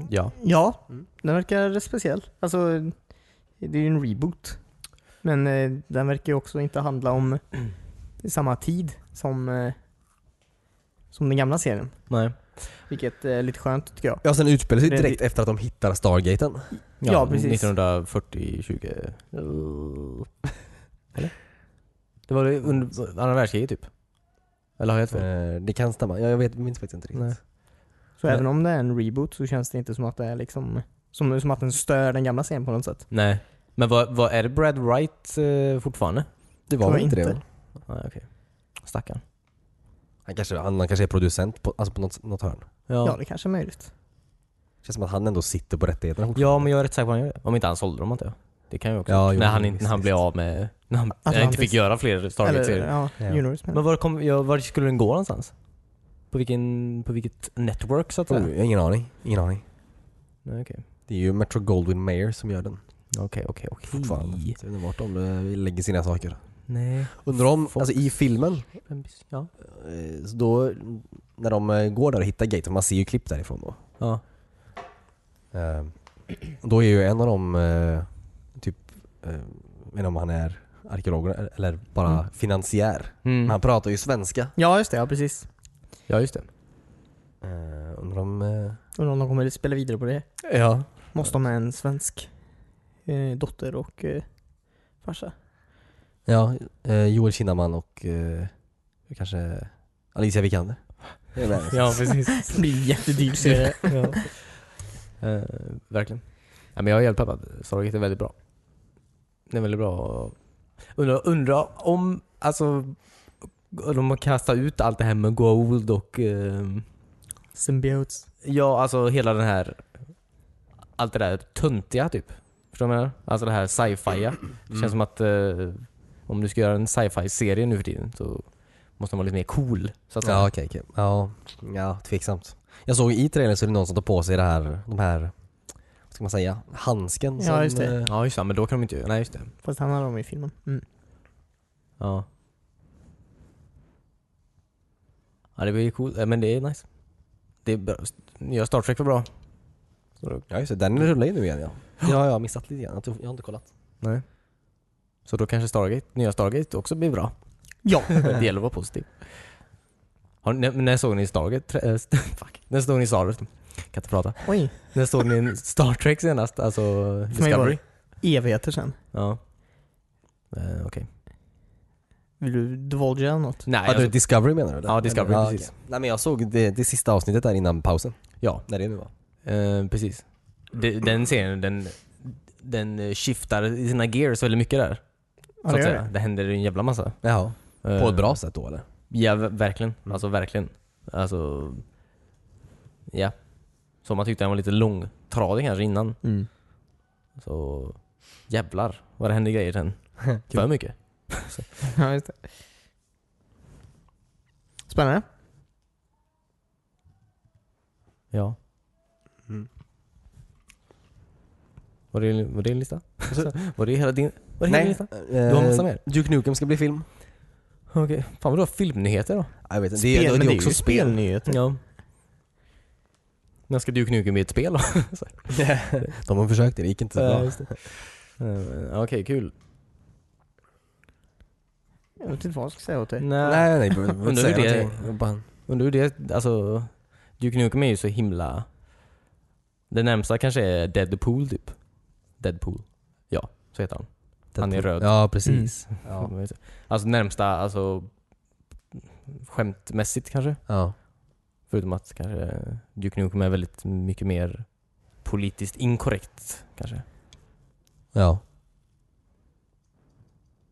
Ja.
ja.
Mm.
Den verkar speciell. Alltså, det är ju en reboot. Men eh, den verkar ju också inte handla om samma tid som, eh, som den gamla serien.
Nej.
Vilket är lite skönt tycker jag.
Ja, sen utspelar sig
Det-
direkt efter att de hittar Stargaten.
Ja, precis.
1940, 20... Eller? Det var det under andra världskriget typ? Eller har jag fel?
Eh, det kan stämma. Ja, jag vet, minns faktiskt inte riktigt.
Nej.
Så
Men-
även om det är en reboot så känns det inte som att det är liksom som, som att den stör den gamla serien på något sätt.
Nej. Men vad, vad är det Brad Wright eh, fortfarande?
Det var
Tror
väl
jag
inte det?
inte.
va?
Nej, okej. Stackarn.
Han kanske, han, han kanske är producent på, alltså på något, något hörn.
Ja,
Ja. Ja,
det kanske är möjligt.
Känns som att han ändå sitter på rättigheterna
men jag är rätt säker på att han gör det. Om inte han sålde dem antar jag. Det kan ju också.
Ja, jo,
när han,
visst,
inte, när han
visst.
blev av med... När han
Atlantis.
eh, inte fick göra fler
Eller,
Stargate-serier.
ja,
Ja.
Universe men.
Men var, kom, ja, var skulle den gå någonstans? På, vilken, på vilket network så att säga?
Oh, jag har ingen aning. Ingen aning.
Nej, Okej,
Det är ju Metro Goldwyn Mayer som gör den
okej, okej. okej.
fortfarande. Så Jag vet inte vart de eh, lägger sina saker.
Nej.
Undrar om,
Folk.
alltså i filmen,
Ja.
eh, så då, när de eh, går där och hittar gaten, man ser ju klipp därifrån då.
ja.
Eh, Då är ju en av dem, eh, typ, eh, jag vet inte om han är arkeolog eller bara
Mm.
finansiär. Men
Mm.
han pratar ju svenska.
Ja just det, ja precis.
Ja, just det.
Eh, Undrar om... eh,
Undrar om de kommer att spela vidare på det.
Ja.
Måste de ha en svensk eh, dotter och eh, farsa?
Ja, eh, Joel Kinnaman och eh, kanske Alicia Vikander. Det är med.
Ja, precis.
Det blir en jättedyr serie.
ja. Eh, verkligen. Ja, men jag är helt peppad. Stargate är väldigt bra. Det är väldigt bra. Undra, undra om, alltså, de har kastat ut allt det här med Gold och, ehm,
Symbiotes.
ja alltså hela den här, allt det där töntiga typ. Förstår du vad jag menar? Alltså det här sci-fi. Det känns som att eh, om du ska göra en sci-fi-serie nu för tiden så måste den vara lite mer cool. Så att säga.
Ja, okej, okej. Ja, ja, tveksamt. Jag såg i trailern så är det någon som tar på sig det här, de här, vad ska man säga, handsken
Ja,
som,
just det.
eh,
ja just det, men då kan de inte göra, nej just det.
Fast han har dem i filmen. Mm.
Ja. Ja det blir coolt, Eh, men det är nice. Det är bra. Nya Star Trek var bra.
Ja just det, den rullar ju nu igen ja. Ja, jag har missat lite grann. Jag tror- Jag har inte kollat.
Nej. Så då kanske Stargate, nya Stargate också blir bra.
Ja.
det gäller att vara positiv. Har, när, när såg ni Stargate? Tre- eh, st- Fuck. När såg ni Star... Kan inte prata.
Oj.
När såg ni Star Trek senast? Alltså
För mig var
Discovery?
det evigheter sen.
Ja. Eh, Okej.
Vill du divulga något?
Nej,
Hade du
alltså,
Discovery menar du? eller?
Ja, Discovery,
Ja,
precis.
okej. Nej men jag såg det, det sista avsnittet där innan pausen.
ja,
När det nu var.
eh, precis. De, den serien, den, den eh, skiftar i sina gears väldigt mycket där.
Ja,
så
det
att
gör
säga. det händer en jävla massa.
Jaha. På
Eh,
ett bra sätt då eller?
Ja, ver- verkligen.
Mm.
Alltså verkligen. Alltså... Ja. Som man tyckte den var lite långtradig kanske innan.
det. Mm.
Så... Jävlar vad det hände grejer sen. För mycket.
Ja, just det. Spännande.
Ja.
Mm.
Var det, var det en lista? var det hela din, var det hela din
Nej.
lista?
Du
har massa mer?
Duke Nukem ska bli film.
Okej. Fan vad du har filmnyheter då.
Ja, Jag vet inte.
Spel,
det, är-
men
det är också spel.
spelnyheter.
Ja. När ska Duke Nukem bli ett spel då?
De har försökt det, det gick inte så bra.
Eh, Okej, kul.
Jag vet inte vad jag ska säga åt
Mm.
dig.
Nej, nej, nej.
Undrar hur det- Undrar hur det, alltså Duke Nukem är ju så himla Det närmsta kanske är Deadpool typ Deadpool Ja, så heter han Han är röd. Mm.
Ja, precis.
ja. Alltså närmsta, alltså Skämtmässigt kanske
Ja.
Förutom att kanske Duke Nukem är väldigt mycket mer Politiskt inkorrekt kanske
ja.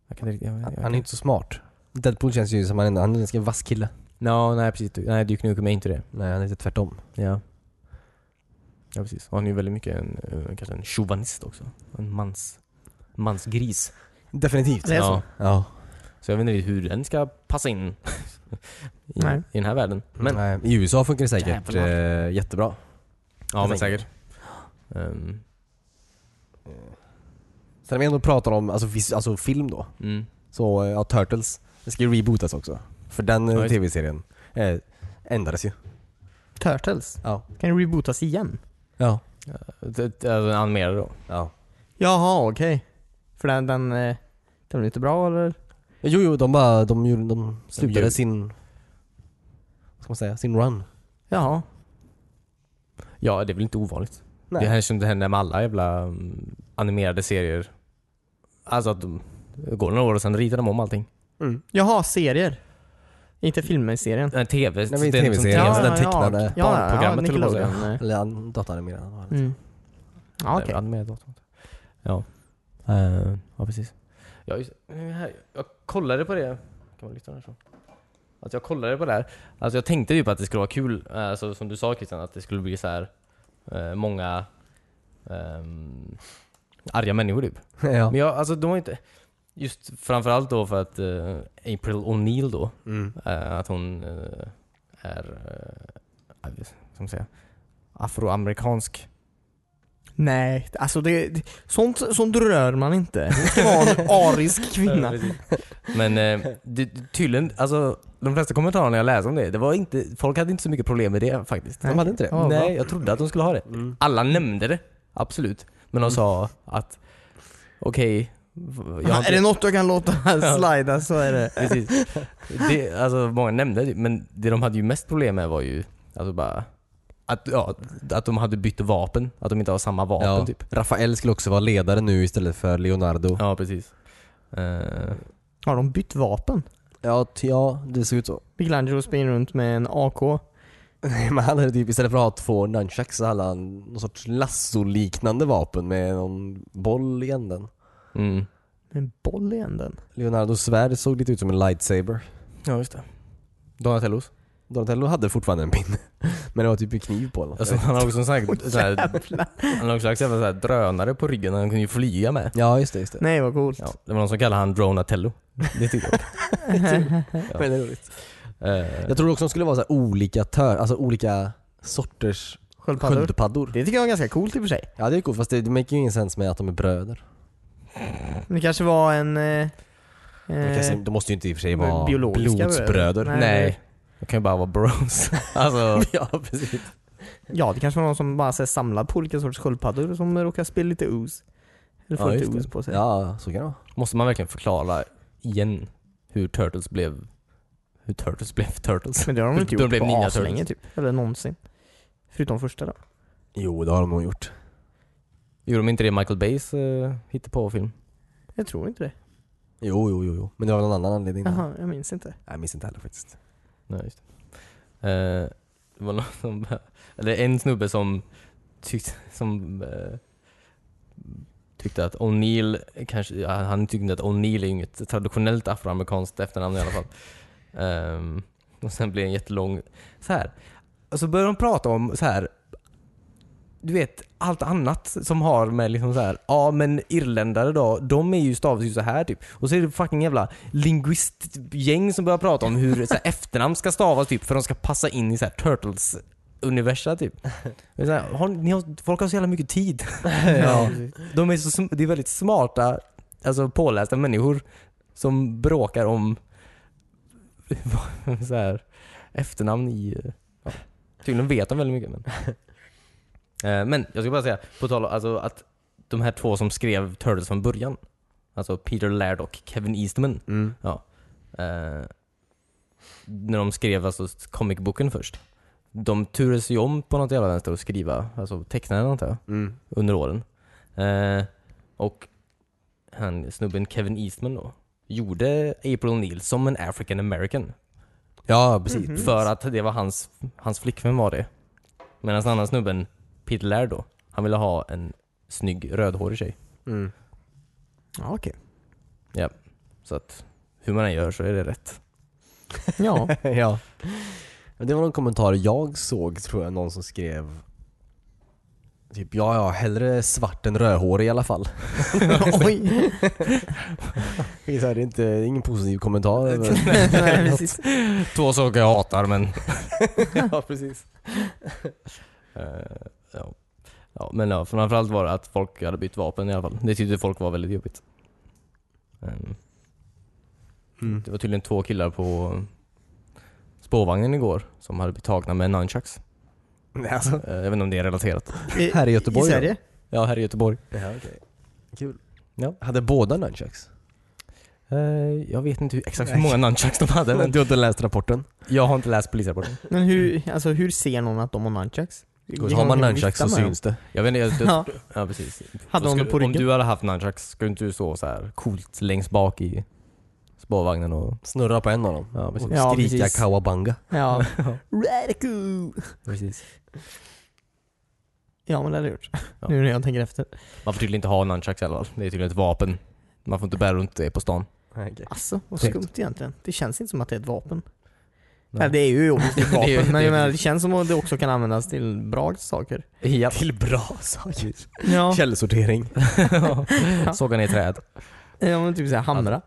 jag kan inte, riktigt- jag, jag,
Han är inte så smart. Deadpool känns ju som han är, han är en ganska vass kille.
no, Nej precis, Du- nej Duke Nukem är inte det
Nej, han är lite tvärtom.
Ja Ja precis, och han är ju väldigt mycket en, eh, kanske en chauvinist också En mans, mansgris
Definitivt.
Det är så.
Ja,
Ja.
så jag vet inte riktigt hur den ska passa in i,
Nej.
i den här världen. Men,
Nej, I USA funkar det säkert
Jävlar.
eh, jättebra.
ja, men
Jag tänker.
säkert. Ehm,
Sen när vi ändå pratar om alltså, vis- alltså film då.
mm.
Så eh, ja, Turtles, det ska ju rebootas också. För den eh,
Ja, just-
tv-serien eh, ändrades ju.
Turtles.
Ja.
Kan det rebootas igen?
Ja.
Det- alltså, en animerad då.
ja.
Jaha, okej. För den, den, eh, den blev inte bra eller?
Jo, jo, de bara, de, gjorde, de slutade
gjorde-
sin, vad ska man säga, sin run.
Jaha.
Ja, det är väl inte ovanligt.
Nej.
Det här som det händer med alla jävla mm, animerade serier. Alltså att de, det går några år och sen ritar de om allting.
Mm.
Jaha, serier. Inte filmer i serien.
En tv,
Nej, men
det är liksom
TV-serien,
tv-
alltså den
ja,
tecknade
ja, ja, ja,
barnprogrammet, höll jag på att
Nickelodeon. eh.
Eller an- datanimerad.
Mm. Ja, okej.
Animerad dator. Ja. Eh, ja, precis. Ja, just, eh, här, jag kollade på det. Kan man lyfta den härifrån? Att jag kollade på det här. Alltså jag tänkte ju på att det skulle vara kul, eh, alltså, som du sa Christian, att det skulle bli så här eh, många ehm, arga människor typ.
Mm. ja.
Men jag, alltså de var inte... Just framförallt då för att eh, April O'Neill då,
Mm.
eh, att hon eh, är, eh, jag vet inte vad man ska säga, afroamerikansk.
Nej, alltså det, det- sånt, sånt rör man inte. Det ska vara en arisk kvinna.
Men eh, det, tydligen, alltså de flesta kommentarerna jag läste om det, det var inte, folk hade inte så mycket problem med det faktiskt.
De hade inte det.
Ja, va?
Nej, jag trodde att de skulle ha det.
Mm.
Alla nämnde det, absolut. Men de sa att, okej, jag har
är
inte-
det något jag kan låta
Ja.
slida så är det.
Precis. Det, alltså många nämnde det, men det de hade ju mest problem med var ju, alltså bara, att, ja, att de hade bytt vapen, att de inte har samma vapen
Ja.
typ.
Rafael skulle också vara ledare nu istället för Leonardo.
Ja, precis. Eh,
Har de bytt vapen?
Ja, ty- ja det ser ut så.
Michelangelo springer runt med en AK.
Men han hade typ, istället för att ha två nunchucks så hade han någon sorts lasso-liknande vapen med någon boll i änden.
mm.
Med en boll i änden.
Leonardos svärd såg lite ut som en lightsaber.
Ja, just det. Donatellos.
Donatello hade fortfarande en pinne. Men det var typ en kniv på eller något.
Alltså, han har också en sån här, sån här,
Jävlar.
han har också en sån här drönare på ryggen, han kunde ju flyga med.
Ja, just det. Just det.
Nej vad coolt.
Ja, det var någon som kallade han Dronatello. Det tyckte jag.
Men det är roligt.
Eh,
Jag tror också de skulle vara så här olika tör, alltså olika sorters
Sköldpaddor.
sköldpaddor.
Det tycker jag är ganska coolt i och för sig.
Ja, det är coolt. Fast det, det make ju ingen sens med att de är bröder.
Men det kanske var en... Eh,
De, kanske,
eh,
de måste ju inte i och för sig vara
biologiska bröder.
blodsbröder.
Nej.
nej, de kan ju bara vara bros. Alltså,
ja, precis.
ja, det kanske var någon som bara så här, samlar på olika sorters sköldpaddor som råkar spilla lite ooze. Eller få
Ja, just
lite
det.
ooze på sig.
Ja, så kan det vara.
måste man verkligen förklara igen hur Turtles blev, hur Turtles blev Turtles?
Men det har de
De
inte gjort
blev
på
Ninja
aslänge
Turtles.
typ. Eller någonsin. Förutom första då.
Jo, det har de nog gjort.
eh, Gjorde de inte det i Michael Bays uh, hittepåfilm?
Jag tror inte det.
Jo, jo, jo, jo. Men det var någon annan anledning. Nej,
Jaha, jag minns inte.
jag minns inte heller faktiskt.
Nej, just det. Eh, det var någon som, eller en snubbe som tyckte, som, eh, tyckte att O'Neill, kanske, ja, han tyckte att O'Neill är ju inget traditionellt afroamerikanskt efternamn i alla fall. Ehm, och sen blev det en jättelång, så här. Och så började de prata om så här. Du vet, allt annat som har med liksom så här, ja men irländare då, de är ju stavas ju så här typ. Och så är det fucking jävla linguistgäng som börjar prata om hur så här, efternamn ska stavas typ, för de ska passa in i så här Turtles universa typ. Det är Så här, har, ni har, folk har så jävla mycket tid.
Ja.
De är så, sm- det är väldigt smarta, alltså pålästa människor som bråkar om så här, efternamn i... Ja. Tydligen vet de väldigt mycket. Men, Eh, men jag ska bara säga, på tal om alltså, att de här två som skrev Turtles från början, alltså Peter Laird och Kevin Eastman,
Mm.
eh, när de skrev alltså comicboken först. De turades ju om på något jävla vänster att skriva, alltså teckna eller något där
Mm.
under åren. Eh, och han, snubben Kevin Eastman då, gjorde April O'Neill som en African American.
Ja, precis.
Mhm.
För att det var hans, hans flickvän var det. Medan den andra snubben, Peter Laird då, han ville ha en snygg rödhårig tjej.
Mm.
Ja, okej.
Så att hur man än gör så är det rätt.
Ja.
ja. Men Det var någon kommentar jag såg tror jag, någon som skrev Typ ja, ja, hellre svart än rödhårig i alla fall.
Oj.
Det är så här, det är inte, det är ingen positiv kommentar. över-
Nej, precis.
Två saker jag hatar men...
ja, precis.
Eh, ja. ja. Men ja, framförallt var det att folk hade bytt vapen i alla fall. Det tyckte folk var väldigt jobbigt. Ehm,
Mm.
Det var tydligen två killar på spårvagnen igår som hade blivit tagna med nunchucks.
Nej, Alltså.
Eh, Jag vet inte om det är relaterat.
I,
Här i Göteborg
I
då?
Sverige?
Ja, här i Göteborg.
Ja, okay. Kul.
Ja.
Hade båda nunchucks?
Eh, Jag vet inte hur, exakt hur många nunchucks de hade men
du har inte läst rapporten?
jag har inte läst polisrapporten.
Men hur, alltså, hur ser någon att de har nunchucks?
Har man nunchucks så syns det.
Jag vet inte, jag, jag,
Ja.
ja precis.
Hade
Så
hon det
skulle-
på
Om
ryggen?
du hade haft nunchucks, skulle inte du stå så här coolt längst bak i spårvagnen och...
Snurra på en av dem.
Ja, precis.
Och
Ja,
skrika
precis.
kawabanga.
Ja. Radical!
precis.
Ja, men det hade jag gjort.
Ja.
Nu när jag tänker efter.
Man får tydligen inte ha nunchucks i alla fall. Det är tydligen ett vapen. Man får inte bära runt det på stan.
Alltså, vad
Tänkt.
skumt egentligen. Det känns inte som att det är ett vapen.
Nej.
Nej, det är ju obviousligt ett
Det är ju-
vapen, men
det är-
jag menar, det känns som att det också kan användas till bra saker.
Japp.
Till bra saker.
Ja,
Källsortering.
Såga ner träd.
ja men typ såhär hamra.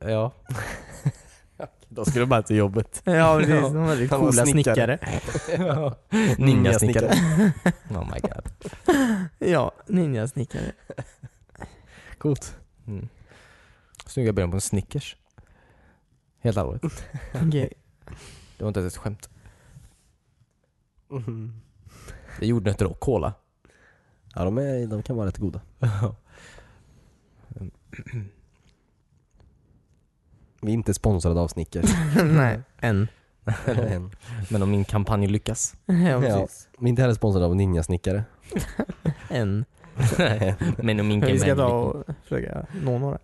Ja.
Då skulle man till jobbet.
Ja precis, de var väldigt
Han var
coola
snickare.
snickare.
Ninjasnickare. Oh my god.
Ja, ninjasnickare.
Coolt.
Mm. Snygga ben på en Snickers. Helt allvarligt.
Okej.
Det var inte ens ett skämt.
Mhm.
Det är jordnötter och cola.
Ja, de, är, de kan vara rätt goda. Vi är inte sponsrade av Snickers.
Nej, en.
Eller än.
Men om min kampanj lyckas.
Ja
ja.
precis.
Vi är inte heller sponsrade av Ninjasnickare.
En.
Men om min
Vi ska
kampanj
ta och försöka nå några.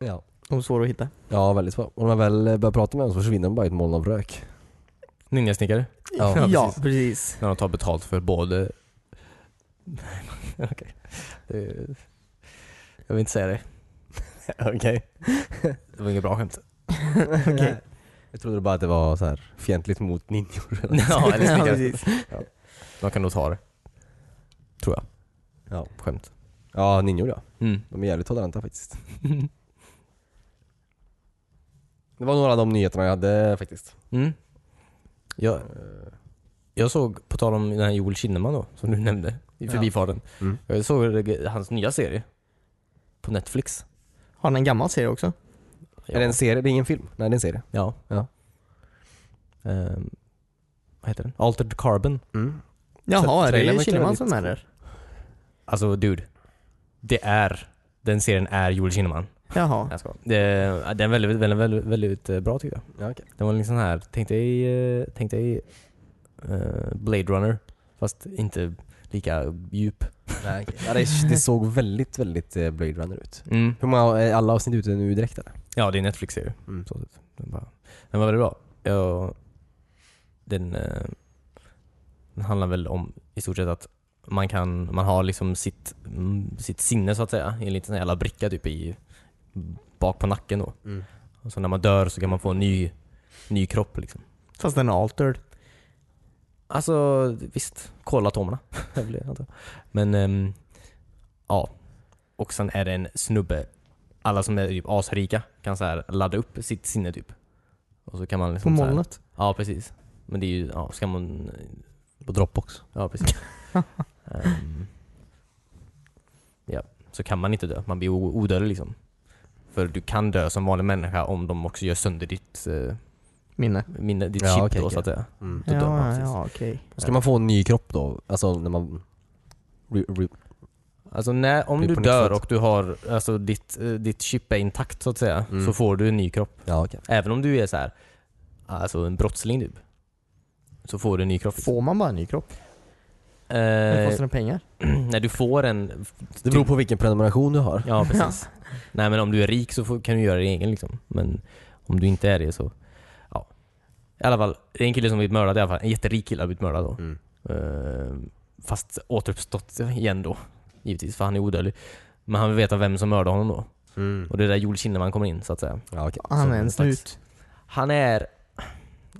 Ja.
De är svåra att hitta.
ja, väldigt bra. Om man väl börjar prata med dem så försvinner de bara i ett moln av rök.
Ninjasnickare.
Ja,
Ja,
precis.
precis.
När de tar betalt för både... Okej. Det- Jag vill inte säga det.
Okej.
Det var inget bra skämt.
Nej. Jag trodde bara att det var så här fientligt mot ninjor. eller något.
Ja, eller
Ja,
snickare.
precis.
De kan nog ta det. Tror jag.
Ja.
Skämt.
ja, ninjor ja.
Mm.
De är jävligt toleranta faktiskt. Det var några av de nyheterna jag hade faktiskt.
Mm. Jag, jag såg, på tal om den här Joel Kinnaman då, som du nämnde i
Ja.
förbifarten.
Mm.
Jag såg det- hans nya serie på Netflix.
Har den en gammal serie också?
Är det en serie? Det är ingen film? Nej, det är en serie.
Ja.
Ja.
Ehm, vad heter den? Altered Carbon.
Mm.
Jaha, är
trailern
det
verkar
Kinnaman
väldigt-
som är där?
Alltså dude. Det är, den serien är Joel Kinnaman.
Jaha.
Jag skojar. Det- Den är väldigt, väldigt, väldigt, väldigt eh, bra tycker jag.
Ja, okej.
Den var liksom här, tänk dig, eh, tänk dig eh, Blade Runner. Fast inte, lika djup.
Nej, okej. ja, det, det såg väldigt, väldigt eh, Blade Runner ut.
Mm.
Hur många, är alla avsnitt ute nu direkt eller?
Ja, det är en Netflix-serie.
Mm.
Så att den, bara, den var väldigt bra. Jag, den, eh, den handlar väl om i stort sett att man, kan, man har liksom sitt, mm, sitt sinne så att säga i en liten sån här jävla bricka typ i, bak på nacken då.
Mm.
Och så när man dör så kan man få en ny, ny kropp liksom.
Fast den är altered.
Alltså visst, kolla atomerna. Det blir det, antar jag. Men ehm, ja. Och sen är det en snubbe. Alla som är typ asrika kan så här ladda upp sitt sinne typ. Och så kan man
På
liksom så här-
molnet.
Ja precis. Men det är ju, ja ska man... På Dropbox? Ja precis. Ehm, ja, så kan man inte dö. Man blir o- odödlig liksom. För du kan dö som vanlig människa om de också gör sönder ditt, eh,
Minne.
minne, ditt
Ja,
chip
okej,
då
okej.
så att säga.
Mm.
Då
Ja,
dör man
ja,
precis.
ja okej.
Ska man få en ny kropp då? Alltså när man... Re, re,
Alltså när, om
Blir
du
på nytt
dör
född.
och du har, alltså ditt, eh, ditt chip är intakt så att säga,
Mm.
så får du en ny kropp.
ja, okej.
Även om du är så här, alltså en brottsling typ. Så får du en ny kropp.
Får man bara en ny kropp?
Eh,
Det kostar den pengar?
när du får en...
Det beror på vilken prenumeration du har.
Ja precis. Nej men om du är rik så får, kan du göra det egen liksom. Men om du inte är det så, ja. I alla fall, det är en kille som blivit mördad i alla fall. En jätterik kille har blivit mördad då.
Mm.
Eh, Fast återuppstått igen då. Givetvis, för han är odödlig. Men han vill veta vem som mördade honom då.
Mm.
Och det är där Joel Kinnaman kommer in så att säga.
Ja, okej.
Ah, Han
Så
är en
en slags-
snut.
Han är...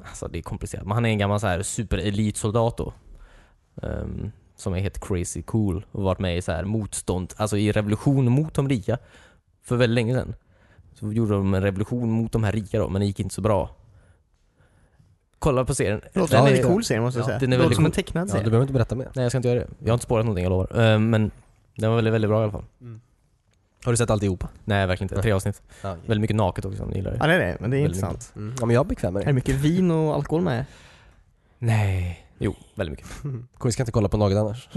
Alltså det är komplicerat, men han är en gammal så här superelitsoldat då. Ehm, som är helt crazy cool och varit med i så här motstånd, alltså i revolution mot de rika. För väldigt länge sedan. Så gjorde de en revolution mot de här rika då, men det gick inte så bra. Kolla på serien.
Låter
Ja,
som en
det-
väldigt cool serie måste jag
ja,
säga.
den är
Låter
väldigt
som en
cool.
tecknad
Ja, du
serie.
behöver inte berätta mer.
Nej jag ska inte göra det. Jag har inte spårat någonting, jag lovar. Ehm, men den var väldigt, väldigt bra i alla fall.
Har du sett alltihopa?
Nej verkligen inte. Tre avsnitt.
Ja, okej.
Väldigt mycket naket också, om ni gillar det.
Ja det är det, men det är
Väldigt
intressant.
Mm. ja men jag är bekväm med
Är det
det.
mycket vin och alkohol med?
Nej. Jo, väldigt mycket.
Vi ska inte kolla på något annars.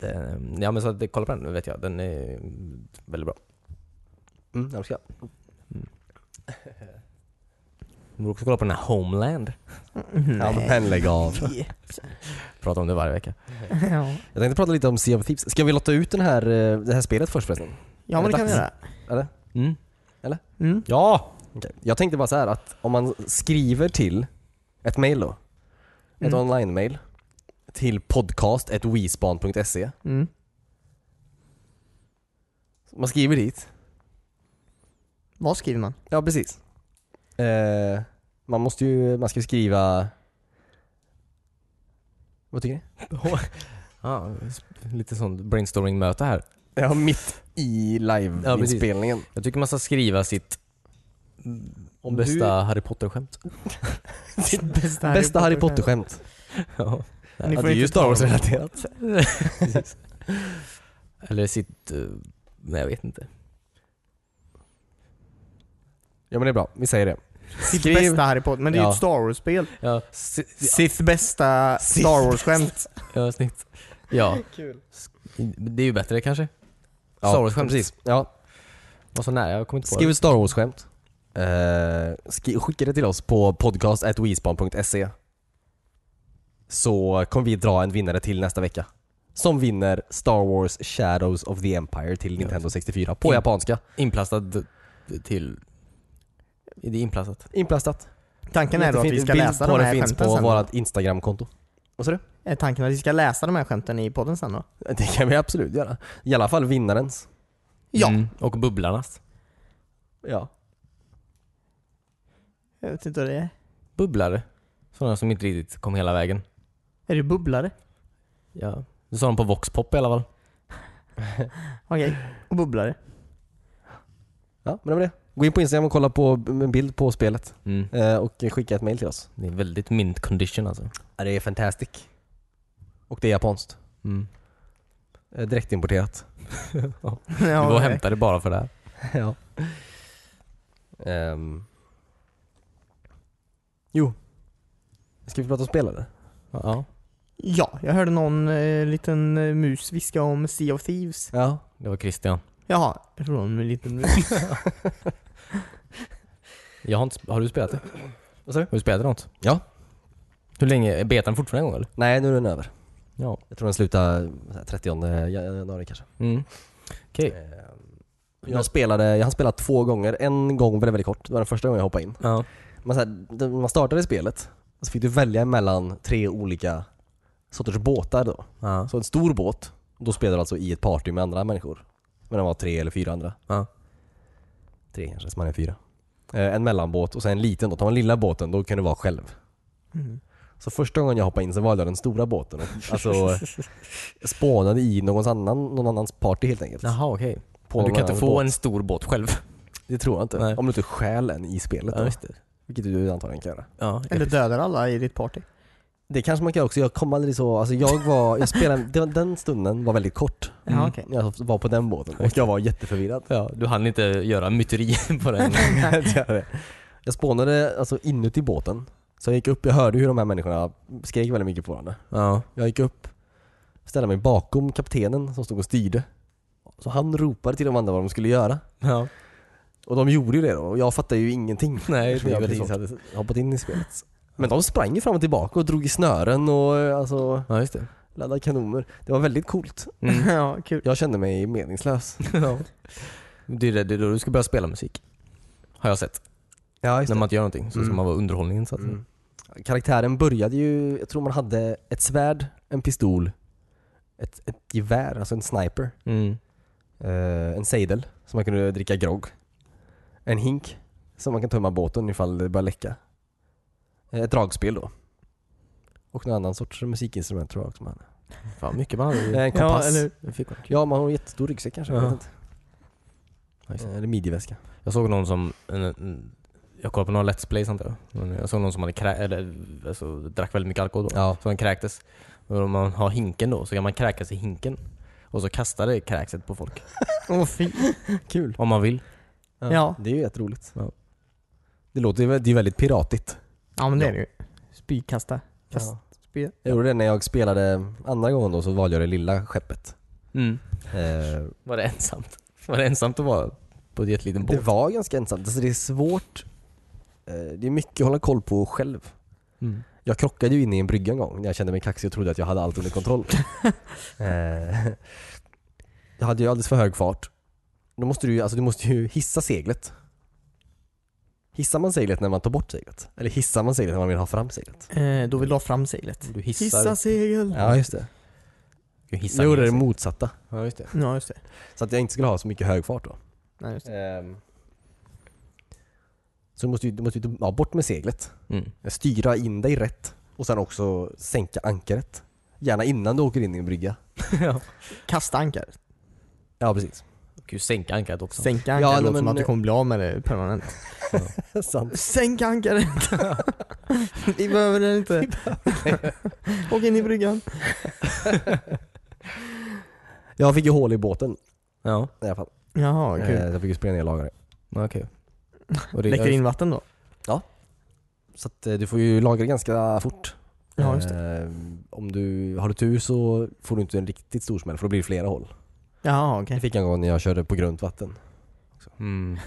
Eh, Ja men så att, kolla på den vet jag, den är eh, väldigt bra.
Mm, jag ska.
Du borde också kolla på den här Homeland.
Ja,
Nej.
men lägg av.
Pratar om det varje vecka.
Ja.
Jag tänkte prata lite om Sea of Thieves. Ska vi lotta ut den här, eh, det här spelet först förresten?
ja men det kan vi
Dags.
göra.
Eller?
Mm.
Mm.
Ja! Jag tänkte bara så här att om man skriver till ett mail då, ett
Mm.
online-mail till podcast.wespan.se
Mm.
Man skriver dit.
Vad skriver man?
Ja, precis. Eh, man måste ju, man ska ju skriva... Vad tycker ni?
Ja, lite sånt brainstorming-möte här.
Ja, mitt i
Ja, precis.
live-inspelningen.
Jag tycker man ska skriva sitt
Om du-
bästa Harry Potter-skämt.
Sitt bästa
Bästa Harry Potter-skämt.
ja.
Ni
Ja,
får
det är
inte
ju Star
ta dem.
Wars-relaterat.
Eller sitt... eh, Nej jag vet inte.
Ja men det är bra, vi säger det.
Sitt
Skriv-
bästa Harry Potter, men det är ju
Ja.
ett Star Wars-spel.
Ja,
Sitt bästa
Sitt
Star Wars-skämt.
ja snyggt. Ja,
Kul.
det är ju bättre kanske.
Ja,
Star Wars-skämt.
Precis. Ja,
Var så nära, jag kommer inte på
Skriv ett Star Wars-skämt. Eh, skri- skicka det till oss på podcast.weespan.se Så kommer vi dra en vinnare till nästa vecka. Som vinner Star Wars Shadows of the Empire till Nintendo 64 på
In-
japanska.
det. Inplastad till... Är det inplastat?
Inplastat.
Tanken är då att vi
Jättefint.
ska
Bild
läsa
på
de
det
här
finns
skämten
på
sen. då?
vårt Instagram-konto. Vad sa du?
Är tanken att vi ska läsa de här skämten i podden sen då?
Det kan vi absolut göra. I alla fall vinnarens.
Ja.
Mm. Och Bubblarnas.
Ja.
Jag vet inte vad det är.
Bubblare. Sådana som inte riktigt kom hela vägen.
Är det bubblare?
Ja. Det sa de på Voxpop i alla fall.
Okej. Och bubblare.
ja, men det var det. Gå in på Instagram och kolla på b- en bild på spelet.
Mm.
eh, Och skicka ett mail till oss.
Det är väldigt mint condition alltså.
Ja, det är fantastic. Och det är japanskt.
Mm.
Eh, Direktimporterat.
Du
ja,
var och
okej.
hämtade bara för det här.
ja. Ehm. Jo. Ska vi prata om spel eller?
Ja.
Ja, jag hörde någon eh, liten eh, mus viska om Sea of Thieves.
Ja.
Det var Christian.
Jaha, jag tror hon är en liten mus.
Jag har, inte, har du spelat det?
Vad sa du?
Har du spelat något?
Ja.
Hur länge, är betan fortfarande igång eller?
Nej, nu är den över.
Ja.
Jag tror den slutar så här, 30 januari kanske.
Mm. Okej.
Eh, Jag spelade, jag har spelat två gånger. En gång väldigt, väldigt kort. Det var den första gången jag hoppade in.
Ja.
Men så här, när man startade spelet så fick du välja mellan tre olika sorters båtar då.
Ja.
Så Alltså, en stor båt, då spelar du alltså i ett party med andra människor. Men det var tre eller fyra andra.
Ja.
Tre kanske, så man är fyra. Eh, En mellanbåt och sen en liten då. Tar man lilla båten då kan du vara själv.
Mm.
Så första gången jag hoppade in så valde jag den stora båten. och Alltså spånade i någons annan, någon annans party helt enkelt.
Jaha okej.
På
Men Du
någon
kan inte
annans
få
båt.
en stor båt själv?
Det tror jag inte.
Nej.
Om du inte stjäl en i spelet
Ja,
då.
visst.
Vilket du antagligen kan göra.
Ja,
Eller dödar alla i ditt party.
Det kanske man kan göra också. Jag kom aldrig så... Alltså jag var... Jag spelade... det var- Den stunden var väldigt kort.
Ja, okej.
Jag var på den båten och jag var jätteförvirrad.
ja, du hann inte göra myteri på den.
Jag spånade alltså inuti båten. Så jag gick upp, jag hörde hur de här människorna skrek väldigt mycket på varandra.
ja.
Jag gick upp, ställde mig bakom kaptenen som stod och styrde. Så han ropade till de andra vad de skulle göra.
ja.
Och de gjorde ju det då, och jag fattade ju ingenting.
Nej,
eftersom
det är
jag
väldigt
precis hade hoppat in i spelet. Men de sprang ju fram och tillbaka och drog i snören och eh, alltså
Ja just det.
laddade kanoner. Det var väldigt coolt.
Mm.
ja, kul.
Jag kände mig meningslös.
ja. Det är det- det är då du ska börja spela musik. Har jag sett.
Ja,
När man inte gör någonting så ska
Mm.
man vara underhållningen så att säga.
Mm. Karaktären började ju, jag tror man hade ett svärd, en pistol, ett, ett gevär, alltså en sniper,
Mm.
eh, en sejdel som man kunde dricka grogg, en hink som man kan tömma båten ifall det börjar läcka. Eh, Ett dragspel då. Och någon annan sorts musikinstrument tror jag också man hade.
Fan mycket man
Eh,
hade.
En kompass.
Ja,
Ja,
eller hur?
Fick man.
man har en jättestor ryggsäck kanske. Jag
Ja.
vet inte.
Ja, just det.
Eh, Eller midjeväska.
Jag såg någon som, en- en- jag kollade på några Let's Plays antar jag. Men jag såg någon som hade krä- eller, alltså, drack väldigt mycket alkohol då.
Ja.
Så han kräktes. Och om man har hinken då så kan man kräkas i hinken. Och så kastar det kräkset på folk.
Åh fy.
Kul.
Om man vill.
Ja.
Det är ju jätteroligt.
Ja.
Det låter ju vä- det är väldigt piratigt.
Ja men det är det ju. Spykasta. Kast. Spy.
Jag gjorde det när jag spelade andra gången då så valde jag det lilla skeppet.
Mm.
Eh,
Var det ensamt? Var det ensamt att vara på en jätteliten båt?
det var ganska ensamt, alltså det är svårt. Eh, det är mycket att hålla koll på själv.
Mm.
Jag krockade ju inne i en brygga en gång när jag kände mig kaxig och trodde att jag hade allt under kontroll. eh, jag hade ju alldeles för hög fart. Då måste du, ju- alltså, du måste ju hissa seglet. Hissar man seglet när man tar bort seglet? Eller hissar man seglet när man vill ha fram seglet?
Eh, då vill du ha fram seglet.
Du hissar.
Hissa segel.
Ja just det.
Du hissar
Jag gjorde det
ner sig.
motsatta.
Ja, just det.
Ja just det.
Så att jag inte skulle ha så mycket hög fart då.
Nej, just det.
Ehm. Så du måste ju, du måste ju ja, bort med seglet,
Mm.
styra in dig rätt och sen också sänka ankaret. Gärna innan du åker in i en brygga.
Kasta ankar.
Ja precis.
Du kan ju sänka ankaret också.
Sänka
Ja,
ankar
nej,
låter som
men-
att du kommer bli av med det permanent.
Sant.
Sänk ankaret! Vi behöver den inte. Åk in i bryggan.
Jag fick ju hål i båten
Ja,
i alla fall.
Jaha,
Eh,
kul.
Jag fick ju springa ner och laga det.
Ja, okej. Och det-
Läcker in vatten då?
Så att eh, du får ju laga det ganska fort.
Ja, just det.
Ehm, Om du har du tur så får du inte en riktigt stor smäll för då blir det flera hål.
Jaha,
Det
okej.
fick jag en gång när jag körde på grunt vatten.
Mm.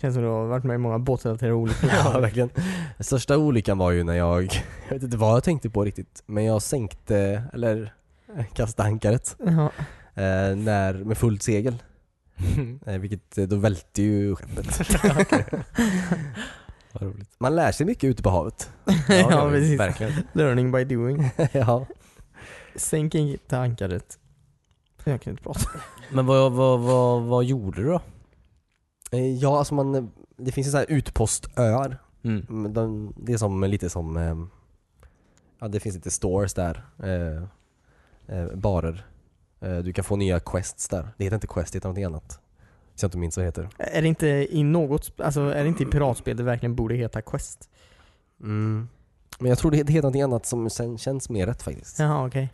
Känns som du har varit med i många båtrelaterade olyckor.
Ja, verkligen. Den största olyckan var ju när jag, jag vet inte vad jag tänkte på riktigt, men jag sänkte, eller eh, kastade ankaret
Ja.
eh, när, med fullt segel. Eh, vilket, eh, då välte ju skeppet.
Vad roligt.
Man lär sig mycket ute på havet.
Ja, precis.
Verkligen.
Learning by doing.
ja.
Sänk inte ankaret. Jag kan inte prata.
Men vad, vad, vad, vad gjorde du då?
Eh, ja, alltså man, eh, det finns ju så här utpostöar.
Mm.
Mm, De, det är som, lite som, eh, ja det finns lite stores där. Eh, eh, barer. Eh, du kan få nya quests där. Det heter inte quest, det heter någonting annat. Så jag inte minns vad det heter.
Är det inte i något, sp- alltså är det inte i piratspel det verkligen borde heta Quest?
Mm. Men jag tror det det heter någonting annat som sen känns mer rätt faktiskt.
Jaha, okej.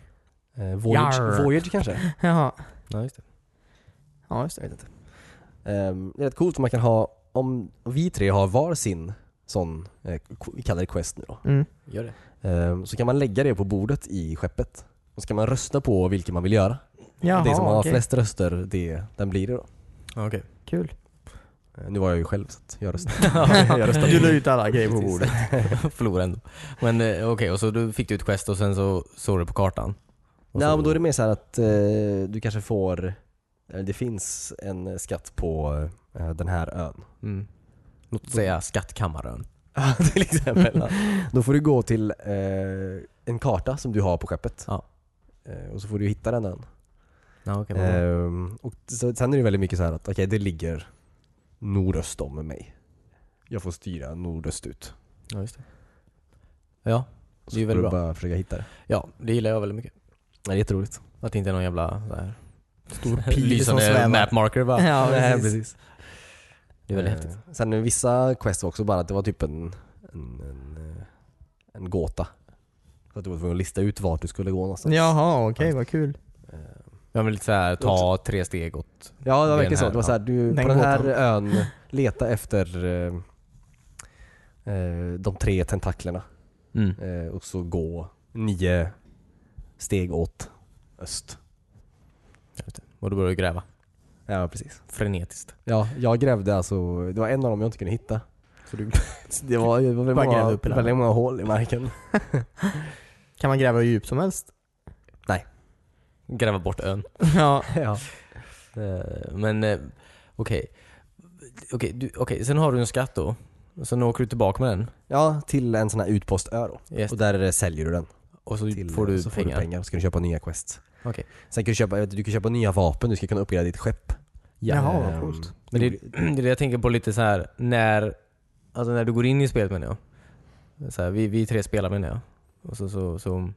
Eh, Voyage,
Jarr.
Voyage kanske?
Jaha.
Ja, just det.
Ja, just
Jag
det.
vet inte. Ehm, det är rätt coolt om man kan ha, om vi tre har var sin sån, eh, qu- vi kallar det quest nu då.
Mm.
Gör det.
Ehm, så kan man lägga det på bordet i skeppet. Och så kan man rösta på vilken man vill göra.
Jaha,
det som har
okej.
flest röster, det, den blir det då.
Ja, Okej.
Kul.
Eh, Nu var jag ju själv så att jag röstade. jag röstade.
du la ut alla grejer på bordet.
Förlorade ändå. Men eh, okej, och så du fick du ett quest och sen så såg du på kartan? Och
Nej
så-
men då är det mer så här att eh, du kanske får, eller det finns en eh, skatt på eh, den här ön.
Mm. Låt säga Skattkammarön.
Ja, till exempel. ja. Då får du gå till eh, en karta som du har på skeppet.
Ja.
Eh, och så får du hitta den ön.
Ja, okej, vad bra.
Ehm, och så, sen är det väldigt mycket så här att okej, det ligger nordöst om mig. Jag får styra nordöstut.
ja, just det. Ja,
Så
Det är ju
får du
väldigt bra.
bara försöka hitta det.
ja, det gillar jag väldigt mycket.
Ja, det är jätteroligt.
Att det inte är någon jävla så här,
Stor pil som
lysande
svävar.
mapmarker bara.
Ja,
Nej,
precis.
Det är väldigt häftigt.
Eh, Sen vissa quest var också bara att det var typ en, en, en, eh, en gåta. Så att du var tvungen att lista ut vart du skulle gå någonstans.
Jaha, okej vad kul.
Eh,
Jag vill lite såhär ta tre steg åt...
Ja, det var
Den
verkligen så.
här,
Det var så här, du
Den
på den här
gåtan.
ön, leta efter eh, eh, de tre tentaklerna
Mm.
eh, och så gå nio steg åt öst.
Och då börjar du gräva.
Ja, precis.
Frenetiskt.
Ja, jag grävde alltså, det var en av dem jag inte kunde hitta. Så du, så det var, det var
Bara
väldigt,
gräva
många,
upp hela.
väldigt många hål i marken.
Kan man gräva hur djupt som helst?
Gräva bort ön.
Ja.
ja.
Eh, Men eh, okej. Okej, du- okej, sen har du en skatt då. Sen åker du tillbaka med den.
Ja, till en sån här utpostö då.
Yes.
Och där eh, säljer du den.
Och så
Till, eh,
får du
så
pengar.
får du pengar och så kan du köpa nya quest.
Okej.
Sen kan du köpa, jag vet inte, du kan köpa nya vapen, du ska kunna uppgradera ditt skepp.
Jaha, vad
Ehm,
coolt.
Men det, det är det jag tänker på lite så här när, alltså när du går in i spelet menar jag. Så här, vi, vi tre spelar menar jag. Och så, så, så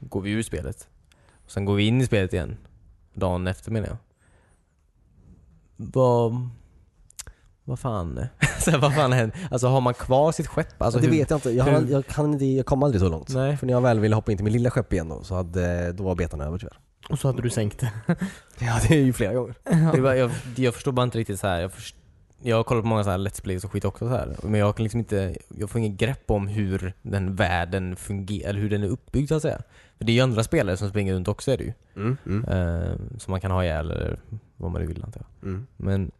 går vi ur spelet. Och sen går vi in i spelet igen. Dagen efter menar jag. Vad... Vad fan? så här, vad fan händer? Alltså har man kvar sitt skepp? Alltså,
Alltså, det
hur-
vet jag inte, jag, har,
hur-
jag, kan inte, jag kom aldrig så långt.
Nej.
För när jag väl ville hoppa in till mitt lilla skepp igen då, så hade, då var betan över tyvärr.
Och så hade du sänkt det.
Ja, det är ju flera gånger.
Det är bara, jag, jag förstår bara inte riktigt så här. Jag, först, jag har kollat på många så här Let's Plays och skit också så här. Men jag kan liksom inte, jag får ingen grepp om hur den världen fungerar, eller hur den är uppbyggd så att säga. För det är ju andra spelare som springer runt också är det ju.
Mm, mm,
Eh, som man kan ha ihjäl eller vad man nu vill antar jag.
mm.
Men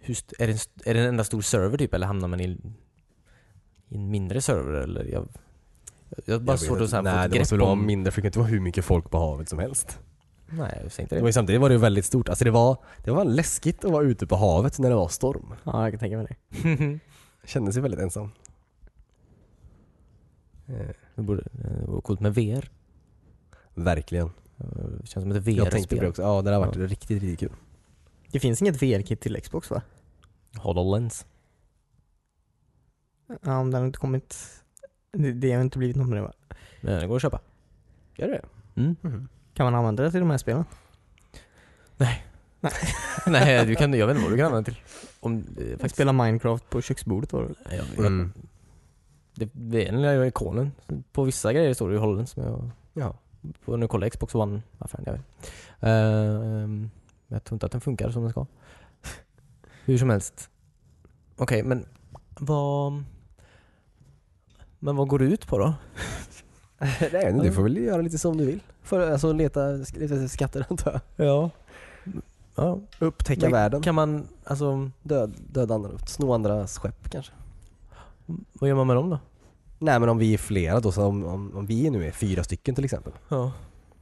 hur, st- är, det en, st- är det en enda stor server typ eller hamnar man i, i en mindre server eller? Jag, jag
Jag
har bara
vet
svårt
inte.
att så här,
Nej,
få
det måste
ett grepp
väl vara
om...
mindre, för det kan inte vara hur mycket folk på havet som helst.
Nej, jag säger inte
Det
det.
var ju samtidigt var det ju väldigt stort, alltså det var, det var läskigt att vara ute på havet när det var storm.
Ja, jag kan tänka mig det.
Kände sig väldigt ensam. Eh,
Det borde, det vore coolt med VR.
verkligen.
Det känns som ett
Jag tänkte på det
VR-spel.
också, ja det där har varit riktigt, riktigt kul.
Det finns inget VR-kit till Xbox va?
HoloLens.
Ja, om den har inte kommit... Det, det har inte blivit något med det va?
Men det går att köpa.
Gör det?
Mm.
Kan man använda det till de här spelen?
Nej, du kan, jag vet inte vad du kan använda det till. Om, eh,
Faktiskt.
faktiskt,
Spela Minecraft på köksbordet var det väl?
Nej, jag vet.
Mm.
Det, det är den lilla ikonen. På vissa grejer står det ju HoloLens. Men jag,
Ja.
på, nu kollar jag Xbox One-affären, jag vet. Eh, ehm, men jag tror inte att den funkar som den ska. Hur som helst. Okej, men vad... Men vad går det ut på då?
Nej, men du får väl göra lite som du vill. För, alltså leta, leta efter skatter antar jag.
Ja. ja.
Upptäcka
Men
världen.
Kan man, alltså,
Död, döda andra, sno andras skepp kanske.
vad gör man med dem då?
Nej men om vi är flera då, så om, om, om vi nu är fyra stycken till exempel.
Ja.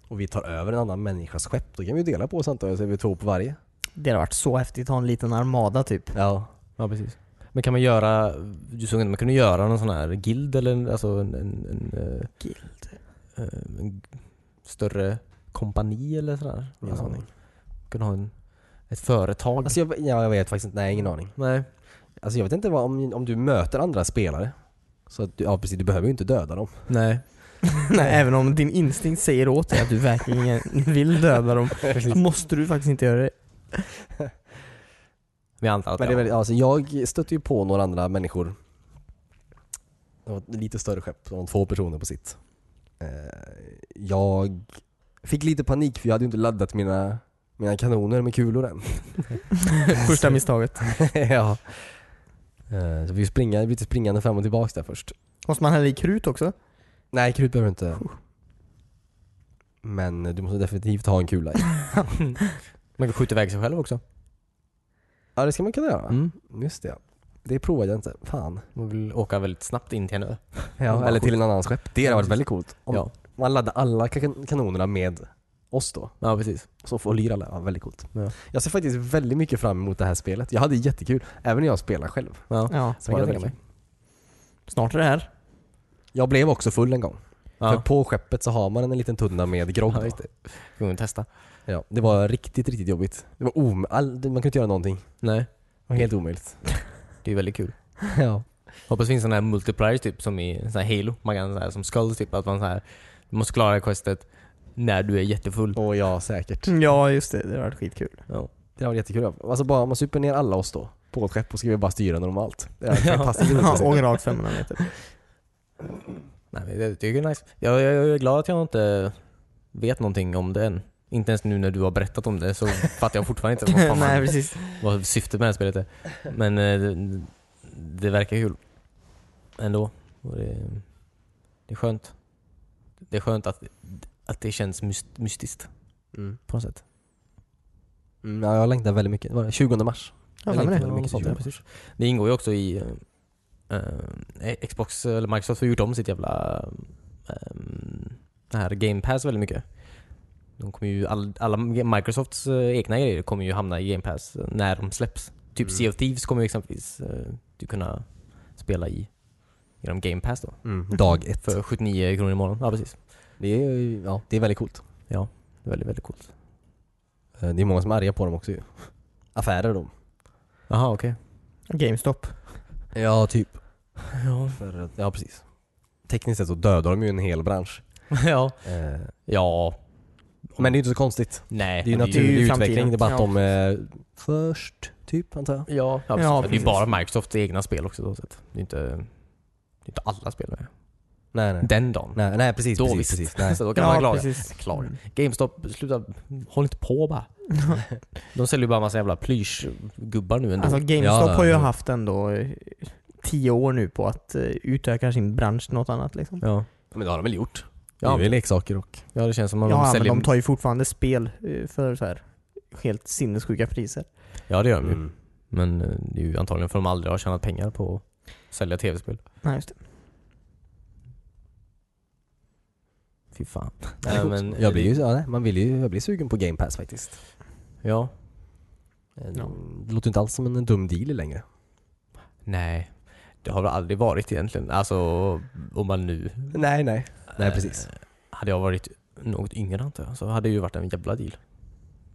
Och vi tar över en annan människas skepp, då kan vi ju dela på oss antar jag, så är vi två på varje.
Det hade varit så häftigt att ha en liten armada typ.
Ja.
Ja precis. Men kan man göra, du såg inte, man kunde göra någon sån här guild eller en, alltså en, en, en, eh,
Guild.
eh, en g- större kompani eller sådär?
Ingen
Alltså,
aning.
kunde ha en, ett företag?
Alltså jag, ja, jag vet faktiskt inte, nej ingen aning.
Nej.
Alltså jag vet inte vad, om, om du möter andra spelare. Så att du, ja precis, du behöver ju inte döda dem.
Nej.
Nej, även om din instinkt säger åt dig att du verkligen vill döda dem, måste du faktiskt inte göra det.
Vi antar att
Men det är väl, alltså jag stötte ju på några andra människor. Det var ett lite större skepp, de var två personer på sitt. Eh, Jag fick lite panik för jag hade ju inte laddat mina, mina kanoner med kulor än.
Första misstaget.
ja. Eh, Så vi springa, vi blev springande fram och tillbaks där först.
Måste man hälla i krut också?
Nej, krut behöver du inte. Men du måste definitivt ha en kula i.
man kan skjuta iväg sig själv också.
Ja det ska man kunna göra.
Mm.
Just det. Det provade jag inte. Fan.
Man vill åka väldigt snabbt in till en ö.
Ja, eller till en annan skepp. Det hade varit
precis.
väldigt coolt. Om
Ja.
man laddar alla kan- kanonerna med oss då.
ja, precis.
Så får Lyra lära. Ja, väldigt coolt.
Ja.
Jag ser faktiskt väldigt mycket fram emot det här spelet. Jag hade jättekul. Även när jag spelar själv.
Ja.
Ja,
Så var det
jag
verkligen.
tänka
snart är det här.
Jag blev också full en gång. För
Ja.
på skeppet så har man en liten tunna med grogg.
Ja,
då.
just det. Får man testa.
Ja, det var riktigt, riktigt jobbigt. Det var om... All... Man kunde inte göra någonting.
Nej,
Det var helt omöjligt.
det är väldigt kul.
ja.
Hoppas det finns sån här multipliers typ som i sån här Halo. Man kan så här, som skulls typ, att man så här, du måste klara questet när du är jättefull.
Och ja, säkert.
Mm.
Ja, just det. Det hade varit skitkul.
Ja.
Det var jättekul. Alltså bara man super ner alla oss då. På ett skepp och så ska vi bara styra normalt. Det är fantastiskt
Ja,
roligt.
och rakt 500 meter.
Nej, men det tycker jag är nice. Jag, jag, jag är glad att jag inte vet någonting om det än. Inte ens nu när du har berättat om det så fattar jag fortfarande inte vad, fan
Nej,
man,
precis.
vad syftet med det här spelet är. Men eh, det, det verkar kul. Ändå. Och det, det är skönt. Det är skönt att, att det känns myst, mystiskt
Mm.
på något sätt.
Mm, ja, jag längtar väldigt mycket. Det var det 20 mars.
Ja,
Eller
men
inte
det.
väldigt mycket
Ja,
sånt, ja, precis. Det ingår ju också i eh, eh, Xbox, eller Microsoft har gjort om sitt jävla um, det här Game Pass väldigt mycket. De kommer ju, all, alla Microsofts eh, egna grejer kommer ju hamna i Game Pass när de släpps. Typ
Mm.
Sea of Thieves kommer ju exempelvis eh, du kunna spela i genom Game Pass då.
Dag ett.
För 79 kronor i månaden. Ja precis.
Det är, ju- ja, det är väldigt coolt.
Det är väldigt, väldigt coolt.
Eh, Det är många som är arga på dem också ju. Affärer de.
Jaha okej.
GameStop.
Ja, typ.
Ja.
För, att- ja, precis. Tekniskt sett så dödar de ju en hel bransch.
ja.
Eh,
Ja.
Men det är ju inte så konstigt.
Nej.
Det är ju
ju
naturlig utveckling.
framtiden.
Det är bara att de är först, typ, antar jag.
Ja, ja,
Ja,
precis. det är ju
precis.
bara Microsofts egna spel också. Då, så att det, är inte, det är inte alla spel med.
Nej, nej.
Den dagen.
Nej, nej precis,
då
precis,
visst.
precis. Nej.
Så då kan man
Ja,
vara klar.
precis.
Klar.
Mm.
GameStop, sluta. Håll inte på bara. De säljer ju bara massa jävla plyschgubbar nu ändå.
Alltså
Ja,
GameStop
ja,
har ju
ja.
haft ändå eh, tio år nu på att eh, utöka sin bransch till något annat liksom.
ja.
Men det har de väl gjort? Det
Ja,
är väl leksaker och...
ja, det känns som att de
Ja, men
säljer...
de tar ju fortfarande spel eh, för så här helt sinnessjuka priser.
Ja, det gör
Mm.
de ju. Men eh, det är ju antagligen för att de aldrig har tjänat pengar på att sälja tv-spel.
Nej, just det.
Fy fan.
Nej, men, jag blir ju, ja, nej, man vill ju, jag blir sugen på game pass faktiskt.
Ja.
Eh,
Ja.
Det låter inte alls som en dum deal längre.
Nej. Det har det aldrig varit egentligen. Alltså, om man nu
Nej, nej. Nej,
Eh,
precis.
Hade jag varit något yngre antar jag, så hade det ju varit en jävla deal.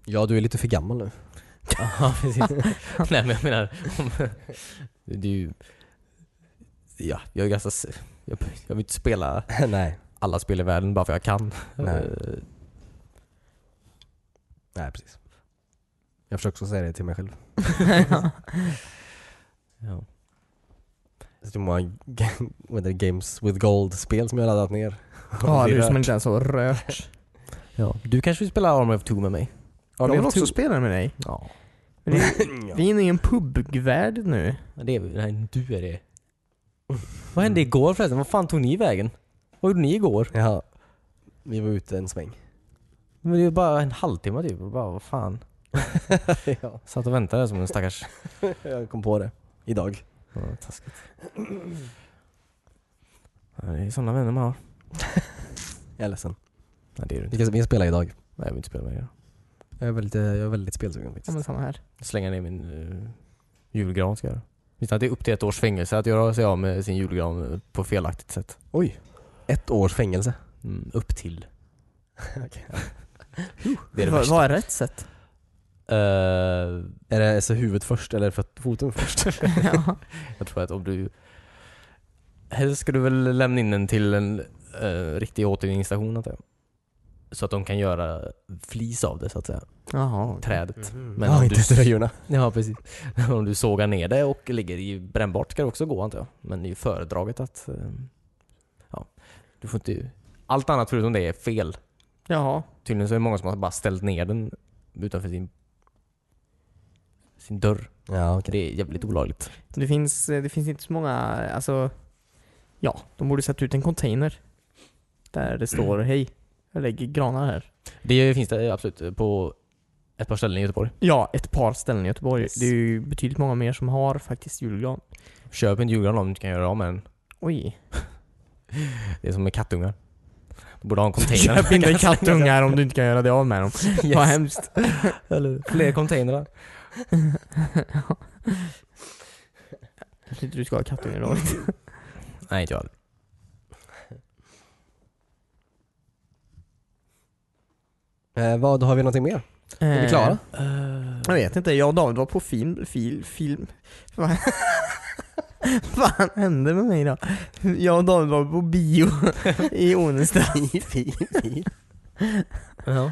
Ja, du är lite för gammal nu.
Ja, precis. Nej men jag menar, om, det är ju... Ja, jag är ganska... s- Jag, jag vill inte spela
nej.
alla spel i världen bara för jag kan.
Nej.
Eh,
Nej, precis. Jag försöker också säga det till mig själv.
Ja.
Det är så många ga- vad heter det, games with gold-spel som jag har laddat ner.
Ja, det är
Rört.
som man inte ens har rört.
Ja. Du kanske vill spela Army of Two med mig?
Jag
men typ-
vill
jag
också
tror-
spela med dig.
Ja.
Men det, vi är inne i en pubvärld nu.
Det är, nej, du är det. Vad hände igår förresten? Vad fan tog ni vägen? Vad gjorde ni igår?
Ja. Vi var ute en sväng.
Men det är bara en halvtimme typ. Bara, vad fan?
ja,
Satt och väntade som en stackars...
jag kom på det. Idag.
Ja, taskigt. Ja, det är sådana vänner man har.
Jag är ledsen.
Nej det är det inte.
Vi ska, vi ska spela idag.
Nej jag vill inte spela med er.
Jag är väldigt, eh, jag är väldigt spelsugen
Ja,
faktiskt.
men samma här.
Slänga ner min eh, julgran ska jag göra. Visst att det är upp till ett års fängelse att göra sig av med sin julgran eh, på felaktigt sätt?
Oj. Ett års fängelse.
Mm, upp till.
Det är det
Vad-
värsta.
Vad är rätt sätt?
Eh,
Är det alltså huvudet först eller för foten först?
ja.
jag tror att om du... Helst ska du väl lämna in den till en eh, riktig återvinningsstation antar jag. Så att de kan göra flis av det så att säga.
Jaha.
Trädet.
Men
om
ja,
du-
inte tröjorna.
Ja precis. Om du sågar ner det och ligger i brännbart ska det också gå antar jag. Men det är ju föredraget att... eh, Ja, du får inte... Allt annat förutom det är fel.
Jaha.
Tydligen så är det många som har bara ställt ner den utanför sin... Sin dörr.
Ja, okej.
Det är jävligt olagligt.
Det finns, eh, det finns inte så många, alltså... Ja, de borde sätta ut en container. Där det står hej, jag lägger granar här.
Det finns det absolut. På Ett par ställen i Göteborg.
Ja, ett par ställen i Göteborg. Det är ju betydligt många mer som har faktiskt julgran.
Köp en julgran om du inte kan göra av med den.
Oj.
Det är som med kattungar. Du borde ha en container.
Köp inte kattungar om du inte kan göra det av med dem. Vad
yes.
hemskt.
Eller Fler containrar.
Jag tyckte du ska ha kattungar idag.
Nej, inte jag.
Eh, vad, har vi någonting mer?
Är
vi klara?
Jag vet inte, jag och David var på film, fil, film. Vad fan hände med mig idag? Jag och David var på bio i Onesta.
Ja.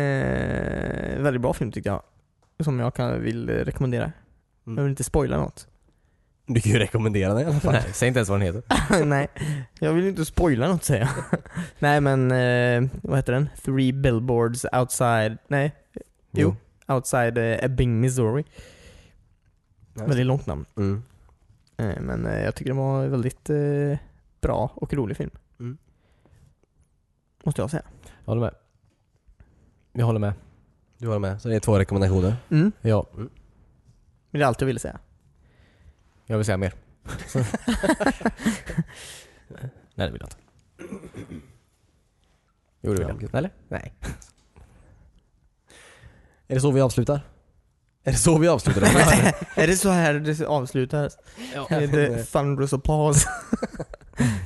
Eh, väldigt bra film tyckte jag. Som jag kan, vill eh, rekommendera. Jag vill inte spoila något.
Du kan ju rekommendera den i alla fall.
Nej, säg inte ens vad den heter.
Nej, jag vill inte spoila något säger jag. Nej men, eh, vad heter den? Three billboards outside, nej, Jo. outside eh, Ebbing, Missouri.
Nice.
Väldigt långt namn.
Mm.
Eh, Men eh, jag tycker det var en väldigt eh, bra och rolig film.
Mm.
Måste jag säga.
Jag håller med. Jag håller med.
Du håller med. Så det är två rekommendationer.
Mm.
Ja,
Men det är allt jag ville säga.
jag vill säga mer. Nej, det vill jag inte. Jo, det vill
Ja,
jag.
okej.
Eller?
Nej. Är det så vi avslutar? Är det så vi avslutar? den här?
är det så här det avslutas? Med eh, thunderous applause.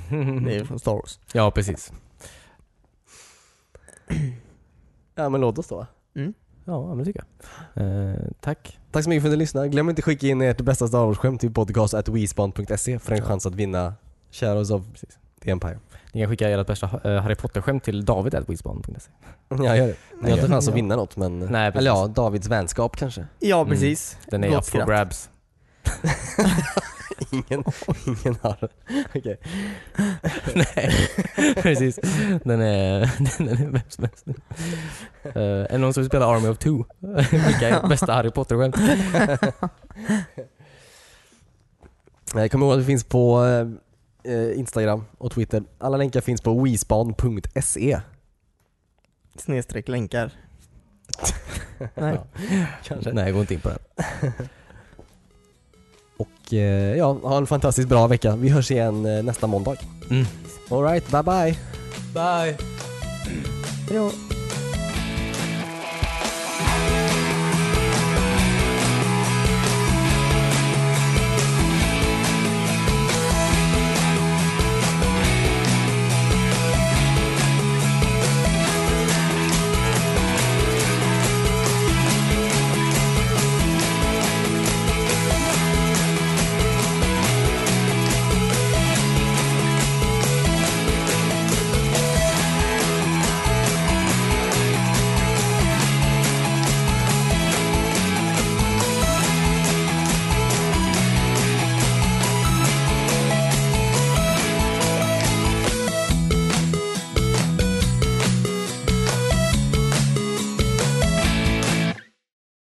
det är från Star Wars.
Ja, precis.
ja men låt oss då.
Ja, men det tycker jag. Eh, tack.
Tack så mycket för att ni lyssnade. Glöm inte skicka in ert bästa Star Wars-skämt till podcast.wespawn.se för en chans att vinna Shadows of the Empire.
Ni kan skicka ert bästa eh, Harry Potter-skämt till david.wizbond.se.
Ja, gör det. Ni har inte en chans att
Ja.
vinna något men...
Nej, precis.
eller ja, Davids vänskap kanske.
Ja,
Mm.
precis.
Den är
Gott
up for
skratt.
grabs.
Ingen, ingen har... Okej.
Nej, precis. Den är, den är vem som helst. Eh, Är det någon som vill spela Army of Two? Vilka är bästa Harry Potter-skämt?
Okay. Kom ihåg att vi finns på eh, eh, Instagram och Twitter. Alla länkar finns på wespawn.se.
Snedstreck länkar. Nej.
Ja. Nej, jag går inte in på det.
Och eh, ja, ha en fantastiskt bra vecka. Vi hörs igen eh, nästa måndag.
Mm.
Alright, bye bye!
Bye!
Hejdå!